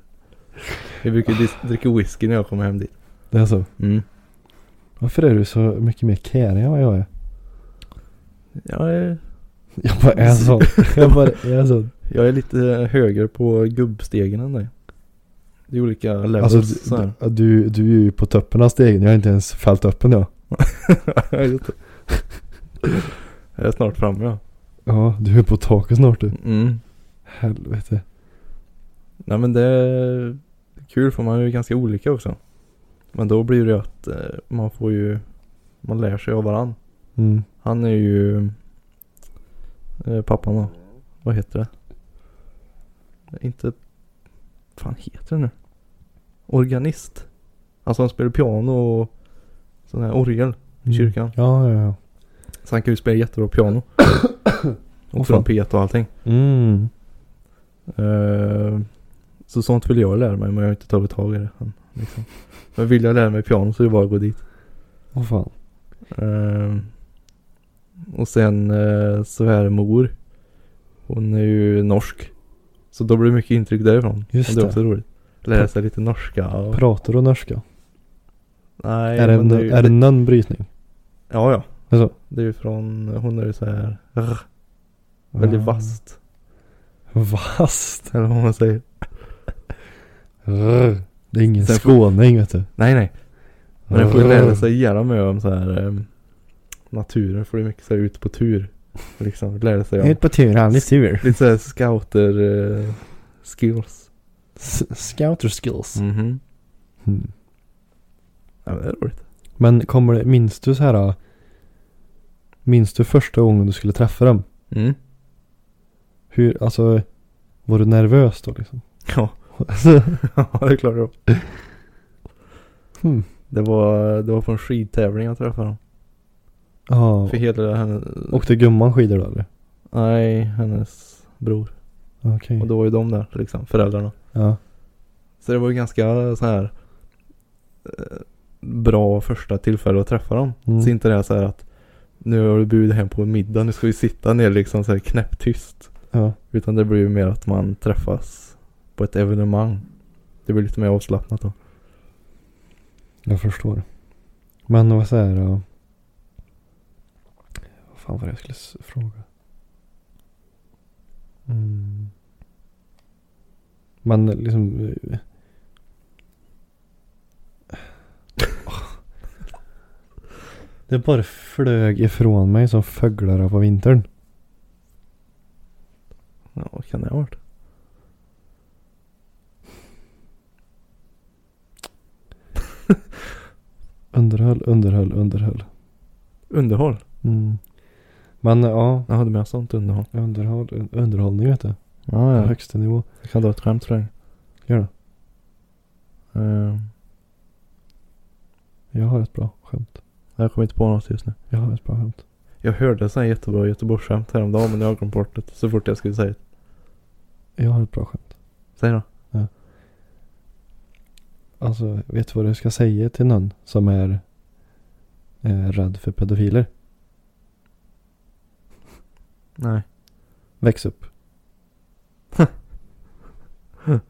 [SPEAKER 2] Vi brukar ju dis- dricka whisky när jag kommer hem dit.
[SPEAKER 1] Det är så.
[SPEAKER 2] Mm.
[SPEAKER 1] Varför är du så mycket mer kärig än vad jag är?
[SPEAKER 2] Jag är,
[SPEAKER 1] Jag bara är så. Jag bara är så.
[SPEAKER 2] jag är lite högre på gubbstegen än dig. Det är olika levels
[SPEAKER 1] Alltså
[SPEAKER 2] så här.
[SPEAKER 1] du, du, du är ju på toppen av stegen. Jag har inte ens fällt öppen jag.
[SPEAKER 2] Just det. jag är snart framme ja.
[SPEAKER 1] Ja, du är på taket snart du.
[SPEAKER 2] Mm.
[SPEAKER 1] Helvete.
[SPEAKER 2] Nej men det är kul för man är ju ganska olika också. Men då blir det ju att eh, man får ju, man lär sig av varann.
[SPEAKER 1] Mm.
[SPEAKER 2] Han är ju eh, pappan då. Vad heter det? Inte, fan heter det nu? Organist. Alltså han spelar piano och sån här orgel i
[SPEAKER 1] Mm.
[SPEAKER 2] kyrkan.
[SPEAKER 1] Ja, ja, ja.
[SPEAKER 2] Så han kan ju spela jättebra piano.
[SPEAKER 1] Åh,
[SPEAKER 2] och
[SPEAKER 1] fan.
[SPEAKER 2] trumpet och allting.
[SPEAKER 1] Mm.
[SPEAKER 2] Eh, så sånt vill jag lära mig men jag har inte tagit tag i det än. Liksom. Men vill jag lära mig piano så är det bara att gå dit.
[SPEAKER 1] Åh fan.
[SPEAKER 2] Eh, och sen eh, svärmor. Hon är ju norsk. Så då blir det mycket intryck därifrån.
[SPEAKER 1] Just
[SPEAKER 2] och det är
[SPEAKER 1] det.
[SPEAKER 2] också roligt. Lära sig lite norska. Och,
[SPEAKER 1] Pratar du norska?
[SPEAKER 2] nej,
[SPEAKER 1] är, det,
[SPEAKER 2] men
[SPEAKER 1] en-
[SPEAKER 2] ju-
[SPEAKER 1] är det någon brytning?
[SPEAKER 2] Ja, ja.
[SPEAKER 1] Alltså,
[SPEAKER 2] Det är ju från, hon är ju så här rr, väldigt
[SPEAKER 1] Ah.
[SPEAKER 2] vasst.
[SPEAKER 1] Vasst.
[SPEAKER 2] Eller vad man säger.
[SPEAKER 1] Rrr. Det är ingen
[SPEAKER 2] Sen får-
[SPEAKER 1] skåning vet du.
[SPEAKER 2] Nej, nej. Men den får ju
[SPEAKER 1] Rrr.
[SPEAKER 2] lära sig jävla mycket om så här ehm, naturen. Får ju mycket så här ut på tur. Liksom lära sig om
[SPEAKER 1] Ut på tur, aldrig sur.
[SPEAKER 2] lite så här scouter eh, skills.
[SPEAKER 1] S- Scouter skills.
[SPEAKER 2] Mhm.
[SPEAKER 1] Mm.
[SPEAKER 2] Ja, men det är roligt.
[SPEAKER 1] Men kommer det, minns du så här? äh, Minns du första gången du skulle träffa dem?
[SPEAKER 2] Mm.
[SPEAKER 1] Hur, alltså, var du nervös då liksom?
[SPEAKER 2] Ja.
[SPEAKER 1] Alltså,
[SPEAKER 2] ja, det är klart det var.
[SPEAKER 1] Hmm.
[SPEAKER 2] Det var, det var på en skidtävling jag träffade honom.
[SPEAKER 1] ja.
[SPEAKER 2] För hela henne,
[SPEAKER 1] Åkte gumman skidor då eller?
[SPEAKER 2] nej, hennes bror.
[SPEAKER 1] Okej.
[SPEAKER 2] Och då var ju de där liksom, föräldrarna.
[SPEAKER 1] Ja.
[SPEAKER 2] Så det var ju ganska så här eh, bra första tillfälle att träffa dem.
[SPEAKER 1] Mm.
[SPEAKER 2] Så inte det är så här att nu har du bjudit hem på en middag, nu ska vi sitta ner liksom så här knäpptyst.
[SPEAKER 1] Ja.
[SPEAKER 2] Utan det blir ju mer att man träffas på ett evenemang. Det blir lite mer avslappnat då.
[SPEAKER 1] Jag förstår. Men vad säger jag? Vad fan var det jag skulle s- fråga? Mm. Men liksom... eh, Det bara flög ifrån mig som fåglar på vintern.
[SPEAKER 2] Ja, vad kan det ha varit?
[SPEAKER 1] Underhöll, underhöll, underhöll.
[SPEAKER 2] Underhåll.
[SPEAKER 1] Mm. Men ja,
[SPEAKER 2] Jag hade med sånt underhåll.
[SPEAKER 1] underhåll, un- underhållning vet du.
[SPEAKER 2] Ja, ja.
[SPEAKER 1] Högsta nivå.
[SPEAKER 2] Jag kan dra ett skämt för dig.
[SPEAKER 1] Gör det.
[SPEAKER 2] Eh,
[SPEAKER 1] Jag har ett bra skämt.
[SPEAKER 2] jag kommer inte på något just nu.
[SPEAKER 1] Jag har ett bra skämt.
[SPEAKER 2] Jag hörde så här jättebra Göteborgsskämt häromdagen men jag har glömt bort det så fort jag skulle säga det.
[SPEAKER 1] Jag har ett bra skämt.
[SPEAKER 2] Säg då.
[SPEAKER 1] Alltså, vet du vad du ska säga till någon som är eh, rädd för pedofiler?
[SPEAKER 2] Nej.
[SPEAKER 1] Väx upp.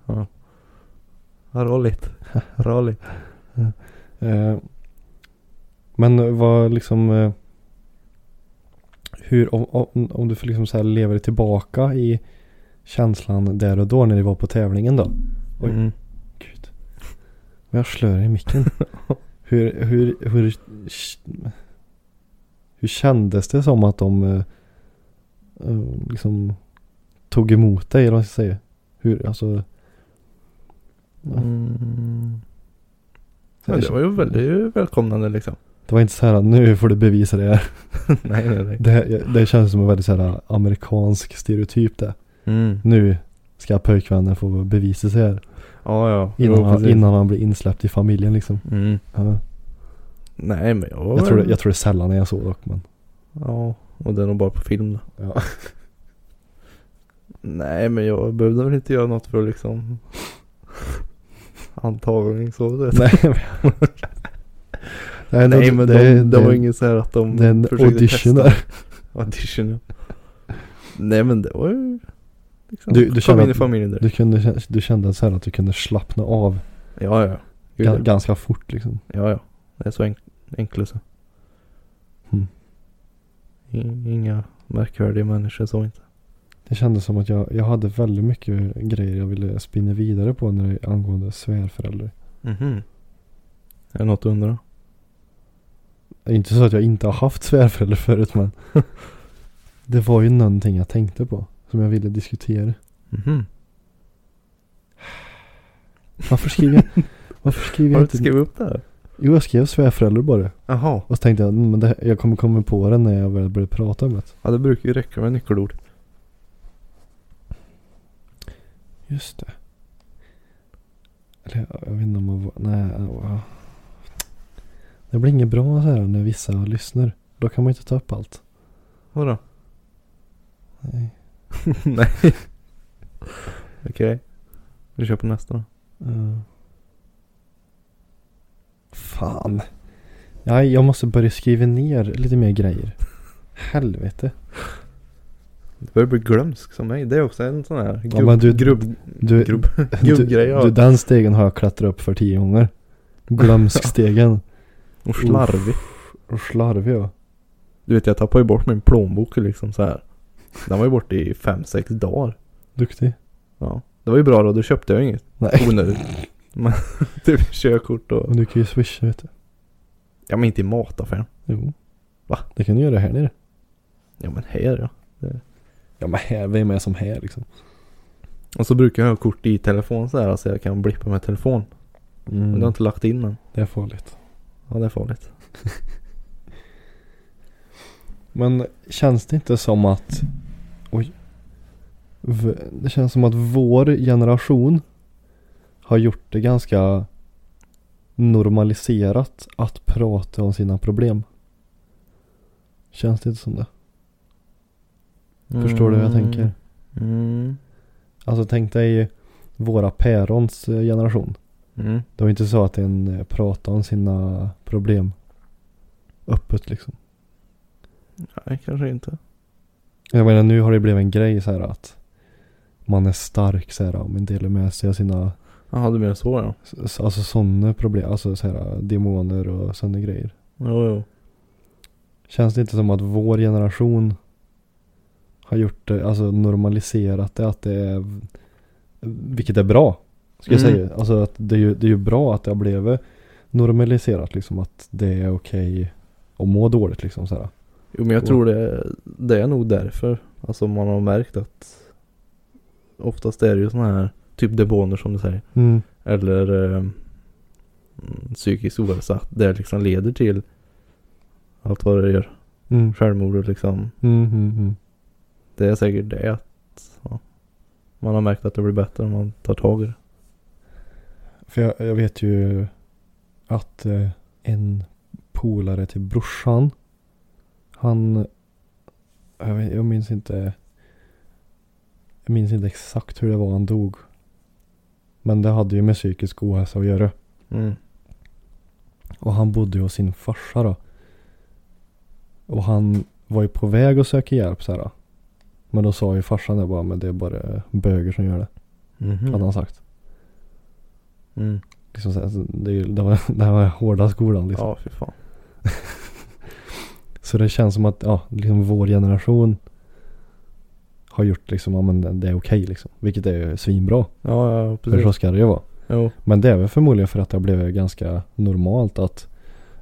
[SPEAKER 2] Ja. Vad roligt. roligt.
[SPEAKER 1] Eh, men vad liksom... Eh, hur, om, om, om du får liksom så här leva dig tillbaka i känslan där och då när ni var på tävlingen då. Oj.
[SPEAKER 2] Mm.
[SPEAKER 1] Gud. Men jag slör i micken. hur, hur, hur, hur kändes det som att de eh, eh, liksom tog emot dig eller vad man ska säga? Hur, alltså,
[SPEAKER 2] Mm. Men det var ju väldigt välkomnande liksom.
[SPEAKER 1] det var inte så här nu får du bevisa det här.
[SPEAKER 2] nej, nej, nej.
[SPEAKER 1] Det, här- det känns som en väldigt så här eh, amerikansk stereotyp det.
[SPEAKER 2] Mm.
[SPEAKER 1] Nu ska pojkvännen få bevisa sig här.
[SPEAKER 2] Ja, ja.
[SPEAKER 1] Innan,
[SPEAKER 2] Jo,
[SPEAKER 1] han,
[SPEAKER 2] precis.
[SPEAKER 1] innan han blir insläppt i familjen liksom.
[SPEAKER 2] Mm.
[SPEAKER 1] Ja.
[SPEAKER 2] Nej, men jag var
[SPEAKER 1] Jag, tror det,
[SPEAKER 2] väl-
[SPEAKER 1] jag tror det är sällan jag såg dock men.
[SPEAKER 2] Ja, och det är nog bara på film då.
[SPEAKER 1] Ja.
[SPEAKER 2] Nej, men jag behövde väl inte göra något för att liksom antagning så. Det.
[SPEAKER 1] Nej, men- Nej,
[SPEAKER 2] Nej, men
[SPEAKER 1] det,
[SPEAKER 2] de,
[SPEAKER 1] det,
[SPEAKER 2] det, var
[SPEAKER 1] det-
[SPEAKER 2] inget så här att de
[SPEAKER 1] Det är en
[SPEAKER 2] försökte
[SPEAKER 1] audition
[SPEAKER 2] testa.
[SPEAKER 1] där.
[SPEAKER 2] Audition, ja. Nej, men det var ju liksom,
[SPEAKER 1] Du- du
[SPEAKER 2] kom
[SPEAKER 1] känner
[SPEAKER 2] in i
[SPEAKER 1] att
[SPEAKER 2] familjen där.
[SPEAKER 1] Du, kunde, du kände så här att du kunde slappna av
[SPEAKER 2] Ja, ja. Gud,
[SPEAKER 1] ga- ganska fort liksom.
[SPEAKER 2] Ja, ja. Det är så enk enkelt så.
[SPEAKER 1] Mm.
[SPEAKER 2] I- Inga märkvärdiga människor så inte.
[SPEAKER 1] Det kändes som att jag, jag hade väldigt mycket grejer jag ville spinna vidare på när det angående svärföräldrar.
[SPEAKER 2] Mhm. Är det något du undrar?
[SPEAKER 1] Det är Inte så att jag inte har haft svärföräldrar förut men det var ju någonting jag tänkte på som jag ville diskutera.
[SPEAKER 2] Mhm.
[SPEAKER 1] Varför skriver jag, varför skriver
[SPEAKER 2] Har
[SPEAKER 1] jag inte?
[SPEAKER 2] du inte skrivit upp det här?
[SPEAKER 1] Jo jag skrev svärföräldrar bara.
[SPEAKER 2] Jaha.
[SPEAKER 1] Och så tänkte jag mm, men det, jag kommer komma på det när jag väl börjar prata om det.
[SPEAKER 2] Ja, det brukar ju räcka med nyckelord.
[SPEAKER 1] Just det. Eller jag, jag vet inte om man var... Nej. ja. Det blir inget bra så här när vissa lyssnar. Då kan man ju inte ta upp allt.
[SPEAKER 2] Vadå?
[SPEAKER 1] Nej.
[SPEAKER 2] Nej. Okej. Vi kör på nästa då.
[SPEAKER 1] Uh. Fan. Nej, jag måste börja skriva ner lite mer grejer. Helvete.
[SPEAKER 2] Du börjar bli glömsk som mig. Det är också en sån här
[SPEAKER 1] Ja, men du-
[SPEAKER 2] grubb...
[SPEAKER 1] du-
[SPEAKER 2] grubb...
[SPEAKER 1] Du,
[SPEAKER 2] Gubbgrej, ja.
[SPEAKER 1] du, den stegen har jag klättrat upp för tio gånger. Glömskstegen.
[SPEAKER 2] Och slarvig.
[SPEAKER 1] Och slarvig jag.
[SPEAKER 2] Du vet jag tappade ju bort min plånbok liksom så här. Den var ju borta i fem sex dagar.
[SPEAKER 1] Duktig.
[SPEAKER 2] Ja. Det var ju bra då, då köpte jag ju inget
[SPEAKER 1] Nej.
[SPEAKER 2] onödigt. Men typ körkort och...
[SPEAKER 1] Men du kan ju swisha vet du.
[SPEAKER 2] Ja men inte i mataffären.
[SPEAKER 1] Jo.
[SPEAKER 2] Va?
[SPEAKER 1] Det kan du göra här nere.
[SPEAKER 2] Ja men här ja.
[SPEAKER 1] Ja men här, vem är som här liksom?
[SPEAKER 2] Och så brukar jag ha kort i telefon så här så jag kan blippa med telefon. Men
[SPEAKER 1] Mm.
[SPEAKER 2] det har jag inte lagt in den.
[SPEAKER 1] Det är farligt.
[SPEAKER 2] Ja det är farligt.
[SPEAKER 1] Men känns det inte som att... Oj. V- Det känns som att vår generation har gjort det ganska normaliserat att prata om sina problem. Känns det inte som det? Förstår du vad jag tänker?
[SPEAKER 2] Mm.
[SPEAKER 1] Alltså tänk dig våra pärons eh, generation.
[SPEAKER 2] Mm.
[SPEAKER 1] Det var inte så att en eh, pratade om sina problem öppet liksom.
[SPEAKER 2] Nej kanske inte.
[SPEAKER 1] Jag menar nu har det blivit en grej så här att man är stark så här om man delar med sig av sina,
[SPEAKER 2] Jaha du menar så ja.
[SPEAKER 1] s- alltså sådana problem, alltså så här demoner och sådana grejer.
[SPEAKER 2] Jo jo.
[SPEAKER 1] Känns det inte som att vår generation har gjort det, alltså normaliserat det att det är, vilket är bra, ska jag
[SPEAKER 2] Mm.
[SPEAKER 1] säga. Alltså att det är ju, det är ju bra att det har blivit normaliserat liksom att det är okej att må dåligt liksom så här.
[SPEAKER 2] Jo men jag
[SPEAKER 1] Och-
[SPEAKER 2] tror det, det är nog därför. Alltså man har märkt att oftast är det ju sådana här typ demoner som du säger.
[SPEAKER 1] Mm.
[SPEAKER 2] Eller eh, mm, psykisk ohälsa. att Det liksom leder till allt vad det gör.
[SPEAKER 1] Mm.
[SPEAKER 2] Självmord och liksom.
[SPEAKER 1] Mm, mm, mm.
[SPEAKER 2] Det är säkert det att ja, man har märkt att det blir bättre om man tar tag i det.
[SPEAKER 1] För jag, jag vet ju att eh, en polare till brorsan, han, jag, vet, jag minns inte, jag minns inte exakt hur det var han dog. Men det hade ju med psykisk ohälsa att göra.
[SPEAKER 2] Mm.
[SPEAKER 1] Och han bodde ju hos sin farsa då. Och han var ju på väg att söka hjälp så här. då. Men då sa ju farsan det bara, men det är bara böger som gör det.
[SPEAKER 2] Mhm.
[SPEAKER 1] Hade han sagt.
[SPEAKER 2] Mm.
[SPEAKER 1] Liksom så här, så det, är ju- det, var, det här var hårda skolan liksom.
[SPEAKER 2] Ja, fy fan.
[SPEAKER 1] Så det känns som att ja, liksom vår generation har gjort liksom, ja men det- det är okej liksom. Vilket är ju svinbra.
[SPEAKER 2] Ja, ja, ja,
[SPEAKER 1] För så
[SPEAKER 2] precis.
[SPEAKER 1] ska det ju vara.
[SPEAKER 2] Jo.
[SPEAKER 1] Men det är väl förmodligen för att det har blivit ganska normalt att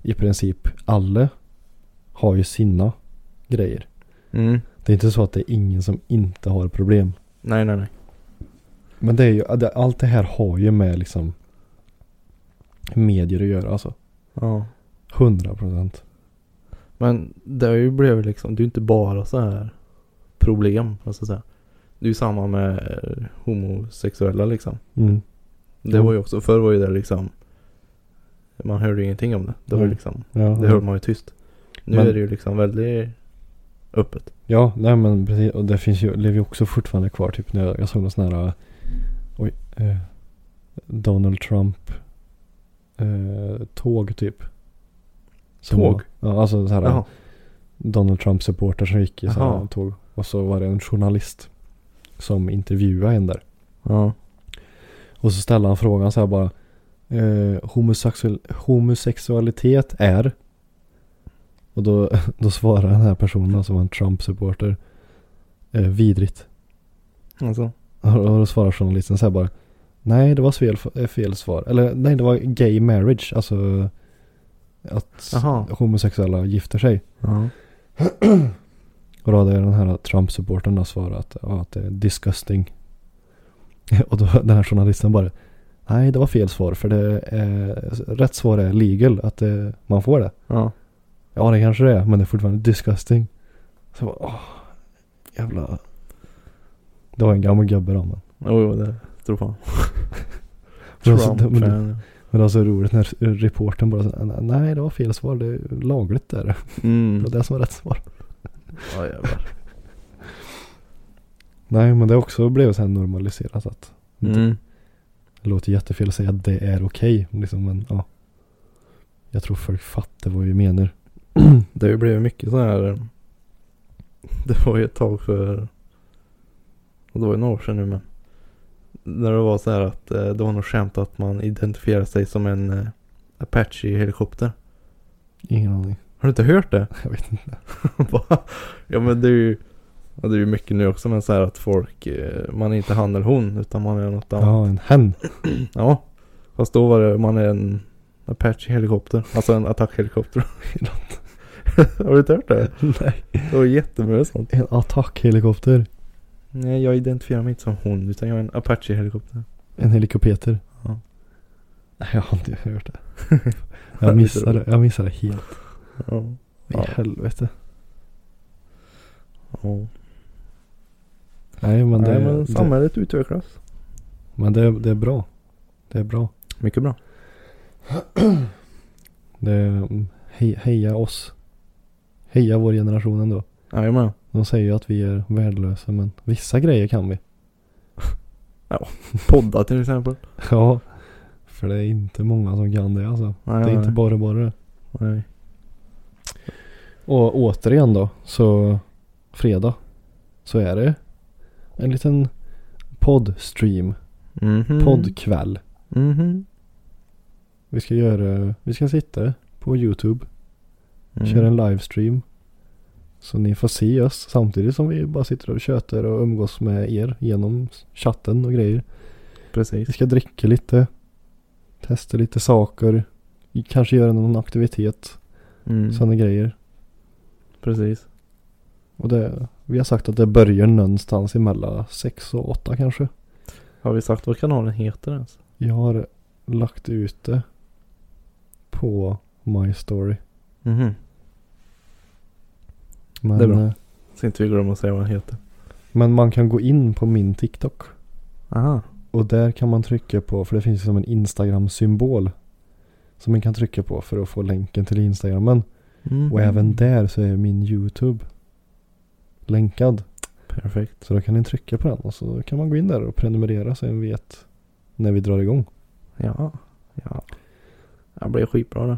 [SPEAKER 1] i princip alla har ju sina grejer.
[SPEAKER 2] Mm.
[SPEAKER 1] Det är inte så att det är ingen som inte har problem.
[SPEAKER 2] Nej, nej, nej.
[SPEAKER 1] Men det är ju, det- allt det här har ju med liksom medier att göra alltså.
[SPEAKER 2] Ja.
[SPEAKER 1] 100 procent.
[SPEAKER 2] Men det har ju blivit liksom, det är ju inte bara så här problem, vad ska jag säga. Det är ju samma med eh, homosexuella liksom.
[SPEAKER 1] Mm.
[SPEAKER 2] Det
[SPEAKER 1] Mm.
[SPEAKER 2] var ju också, förr var ju det liksom, man hörde ju ingenting om det. Det var
[SPEAKER 1] Nej.
[SPEAKER 2] liksom,
[SPEAKER 1] Ja,
[SPEAKER 2] det hörde man ju tyst. Nu
[SPEAKER 1] Men-
[SPEAKER 2] är det ju liksom väldigt öppet.
[SPEAKER 1] Ja, nej men precis. Och det finns ju, lever ju också fortfarande kvar. Typ när jag, jag såg någon sån här, eh, oj, eh, Donald Trump eh, tåg typ. Som
[SPEAKER 2] Tåg?
[SPEAKER 1] var- Ja, alltså så här
[SPEAKER 2] Jaha.
[SPEAKER 1] Donald Trump supporter som gick i så här
[SPEAKER 2] Jaha.
[SPEAKER 1] tåg. Och så var det en journalist som intervjuade en där.
[SPEAKER 2] Ja.
[SPEAKER 1] Och så ställde han frågan så här bara. Eh, homosexuell, homosexualitet är? Och då, då svarar den här personen som var en Trump-supporter. Eh, vidrigt.
[SPEAKER 2] Alltså.
[SPEAKER 1] Och och då svarar journalisten så här bara. Nej det var fel, eh, fel svar. Eller nej det var gay marriage. Alltså att
[SPEAKER 2] Jaha.
[SPEAKER 1] homosexuella gifter sig.
[SPEAKER 2] Ja.
[SPEAKER 1] Och då hade den här Trump-supportern då svarat ja, att det är disgusting. Och då den här journalisten bara Nej det var fel svar för det är, rätt svar är legal att eh, man får det.
[SPEAKER 2] Ja.
[SPEAKER 1] Ja det kanske det är men det är fortfarande disgusting. Så jag bara åh, jävla. Det var en gammal gubbe då men.
[SPEAKER 2] Jo, jo, det tror fan.
[SPEAKER 1] Det var så- men, det-
[SPEAKER 2] Trump-fan.
[SPEAKER 1] men det var så roligt när reportern bara så, Nej det var fel svar det är lagligt där. Det
[SPEAKER 2] Mm.
[SPEAKER 1] var det som var rätt svar.
[SPEAKER 2] Ja, jävlar.
[SPEAKER 1] Nej men det har också blivit så här normaliserat att
[SPEAKER 2] Mm.
[SPEAKER 1] Det låter jättefel att säga att det är okej. liksom, men ja. Jag tror folk fattar vad vi menar.
[SPEAKER 2] Det har ju blivit mycket så här. eh, Det var ju ett tag för. Det var ju några år sedan nu men. När det var så här att eh, det var något skämt att man identifierar sig som en eh, Apache-helikopter.
[SPEAKER 1] Ingen aning.
[SPEAKER 2] Har du inte hört det?
[SPEAKER 1] Jag vet inte.
[SPEAKER 2] Bara, ja men det är ju. ja, Det är ju mycket nu också men så här att folk. eh, Man är inte han eller hon utan man är något annat.
[SPEAKER 1] Ja, en hen.
[SPEAKER 2] Ja. Fast då var det man är en Apache-helikopter. Alltså en attackhelikopter. har du inte hört det?
[SPEAKER 1] Nej.
[SPEAKER 2] Det var jättemycket sånt.
[SPEAKER 1] En attackhelikopter.
[SPEAKER 2] Nej, jag identifierar mig inte som hon utan jag är en Apache-helikopter.
[SPEAKER 1] En helikopter.
[SPEAKER 2] Ja.
[SPEAKER 1] Nej, jag har inte hört det. Jag missade det. Jag missade det helt.
[SPEAKER 2] Ja.
[SPEAKER 1] I helvete.
[SPEAKER 2] ja.
[SPEAKER 1] Nej, men, det,
[SPEAKER 2] Nej, men
[SPEAKER 1] det,
[SPEAKER 2] samhället utvecklas.
[SPEAKER 1] men det, det är bra. Det är bra.
[SPEAKER 2] Mycket bra.
[SPEAKER 1] Det är, mm, he, heja oss. Heja vår generation ändå.
[SPEAKER 2] Jajamän.
[SPEAKER 1] De säger ju att vi är värdelösa men vissa grejer kan vi.
[SPEAKER 2] Podda till exempel.
[SPEAKER 1] Ja, för det är inte många som kan det alltså.
[SPEAKER 2] Nej,
[SPEAKER 1] Det är
[SPEAKER 2] nej,
[SPEAKER 1] inte bara bara det.
[SPEAKER 2] Nej.
[SPEAKER 1] Och återigen då, så fredag så är det en liten poddstream, Mm.
[SPEAKER 2] Mhm.
[SPEAKER 1] poddkväll.
[SPEAKER 2] Mhm.
[SPEAKER 1] Vi ska göra, vi ska sitta på YouTube,
[SPEAKER 2] Mm.
[SPEAKER 1] köra en livestream. Så ni får se oss samtidigt som vi bara sitter och tjötar och umgås med er genom chatten och grejer.
[SPEAKER 2] Precis.
[SPEAKER 1] Vi ska dricka lite, testa lite saker, kanske göra någon aktivitet,
[SPEAKER 2] Mm.
[SPEAKER 1] sådana grejer.
[SPEAKER 2] Precis.
[SPEAKER 1] Och det, vi har sagt att det börjar någonstans emellan sex och åtta kanske.
[SPEAKER 2] Har vi sagt vad kanalen heter ens?
[SPEAKER 1] Jag har lagt ut det på My Story.
[SPEAKER 2] Mhm.
[SPEAKER 1] Men,
[SPEAKER 2] Det är bra.
[SPEAKER 1] eh,
[SPEAKER 2] Så inte vi glömmer att säga vad den heter.
[SPEAKER 1] men man kan gå in på min TikTok.
[SPEAKER 2] Aha.
[SPEAKER 1] Och där kan man trycka på, för det finns ju som en Instagram-symbol. Som man kan trycka på för att få länken till Instagramen.
[SPEAKER 2] Mm.
[SPEAKER 1] Och även där så är min YouTube länkad.
[SPEAKER 2] Perfekt.
[SPEAKER 1] Så då kan ni trycka på den och så kan man gå in där och prenumerera så man vet när vi drar igång.
[SPEAKER 2] Ja. Ja. Det blev skitbra det.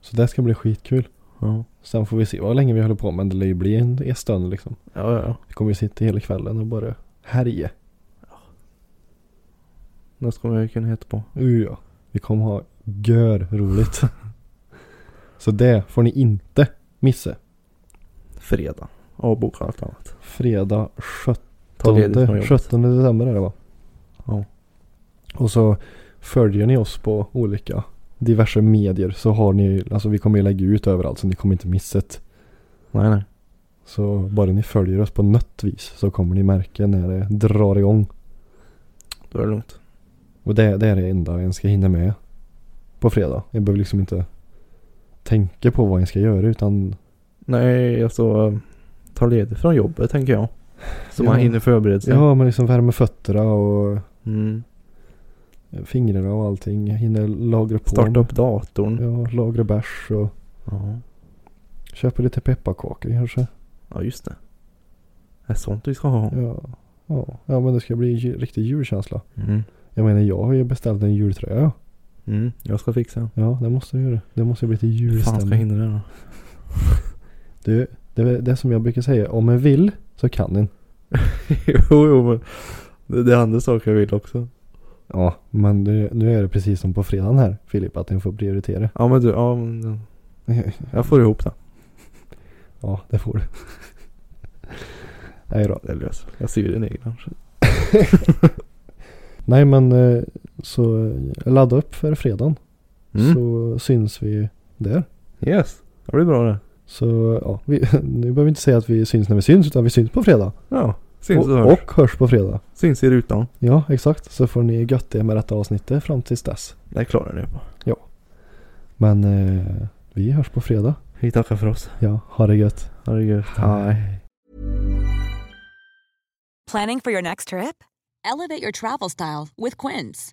[SPEAKER 1] Så det ska bli skitkul.
[SPEAKER 2] Ja.
[SPEAKER 1] Sen får vi se vad länge vi håller på men det lär ju bli en, en stund liksom.
[SPEAKER 2] Ja, ja, ja.
[SPEAKER 1] Vi kommer ju sitta hela kvällen och bara härja.
[SPEAKER 2] Nästa kommer jag kunna heta på.
[SPEAKER 1] Uh, ja. Vi kommer ha gör roligt. Så det får ni inte missa.
[SPEAKER 2] Fredag. Avboka allt annat.
[SPEAKER 1] Fredag 17,
[SPEAKER 2] Ta ledigt från jobbet.
[SPEAKER 1] 17 december är det va?
[SPEAKER 2] Ja.
[SPEAKER 1] Och så följer ni oss på olika diverse medier så har ni, alltså vi kommer ju lägga ut överallt så ni kommer inte missa det.
[SPEAKER 2] Nej, nej.
[SPEAKER 1] Så bara ni följer oss på något vis så kommer ni märka när det drar igång.
[SPEAKER 2] Då är det lugnt.
[SPEAKER 1] Och det, det är det enda en ska hinna med på fredag. Jag behöver liksom inte tänka på vad en ska göra utan
[SPEAKER 2] Nej, alltså. eh, Ta ledigt från jobbet tänker jag. Så
[SPEAKER 1] Ja.
[SPEAKER 2] man hinner förbereda sig.
[SPEAKER 1] ja, men liksom värma fötterna och
[SPEAKER 2] Mm.
[SPEAKER 1] fingrarna och allting. Jag hinner lagra på.
[SPEAKER 2] Starta upp datorn.
[SPEAKER 1] Ja, lagra bärs och
[SPEAKER 2] Ja.
[SPEAKER 1] köpa lite pepparkakor kanske.
[SPEAKER 2] ja, just det. Det är sånt vi ska ha.
[SPEAKER 1] Ja. Ja. ja, men det ska bli ju- riktig julkänsla.
[SPEAKER 2] Mm.
[SPEAKER 1] Jag menar, jag har ju beställt en jultröja.
[SPEAKER 2] Mm. Jag ska fixa den.
[SPEAKER 1] Ja, det måste jag göra. Det måste bli lite
[SPEAKER 2] Hur fan ska jag
[SPEAKER 1] julstämning.
[SPEAKER 2] hinna det då?
[SPEAKER 1] Du, det är det som jag brukar säga. Om en vill så kan en.
[SPEAKER 2] jo, jo, men. Det, det är andra saker jag vill också.
[SPEAKER 1] Ja, men nu, nu är det precis som på fredagen här Filip, att en får prioritera.
[SPEAKER 2] Ja, men du. Ja, men. Jag får ihop det.
[SPEAKER 1] Ja, det får du. Nej då.
[SPEAKER 2] Det löser Jag syr en egen.
[SPEAKER 1] Nej men eh, så eh, ladda upp för fredagen.
[SPEAKER 2] Mm.
[SPEAKER 1] Så syns vi där.
[SPEAKER 2] Yes. Det blir bra det.
[SPEAKER 1] Så ja, vi, nu behöver vi inte säga att vi syns när vi syns utan vi syns på fredag.
[SPEAKER 2] Ja. Syns och,
[SPEAKER 1] och,
[SPEAKER 2] hörs.
[SPEAKER 1] och hörs på fredag.
[SPEAKER 2] Syns i rutan.
[SPEAKER 1] Ja, exakt. Så får ni gött er med detta avsnittet fram tills dess.
[SPEAKER 2] Det klarar ni på.
[SPEAKER 1] Men eh, vi hörs på fredag.
[SPEAKER 2] Vi tackar för oss.
[SPEAKER 1] Ja, ha det gött.
[SPEAKER 2] Ha det gött.
[SPEAKER 5] Planning for your next trip? Elevate your travel style with Quince.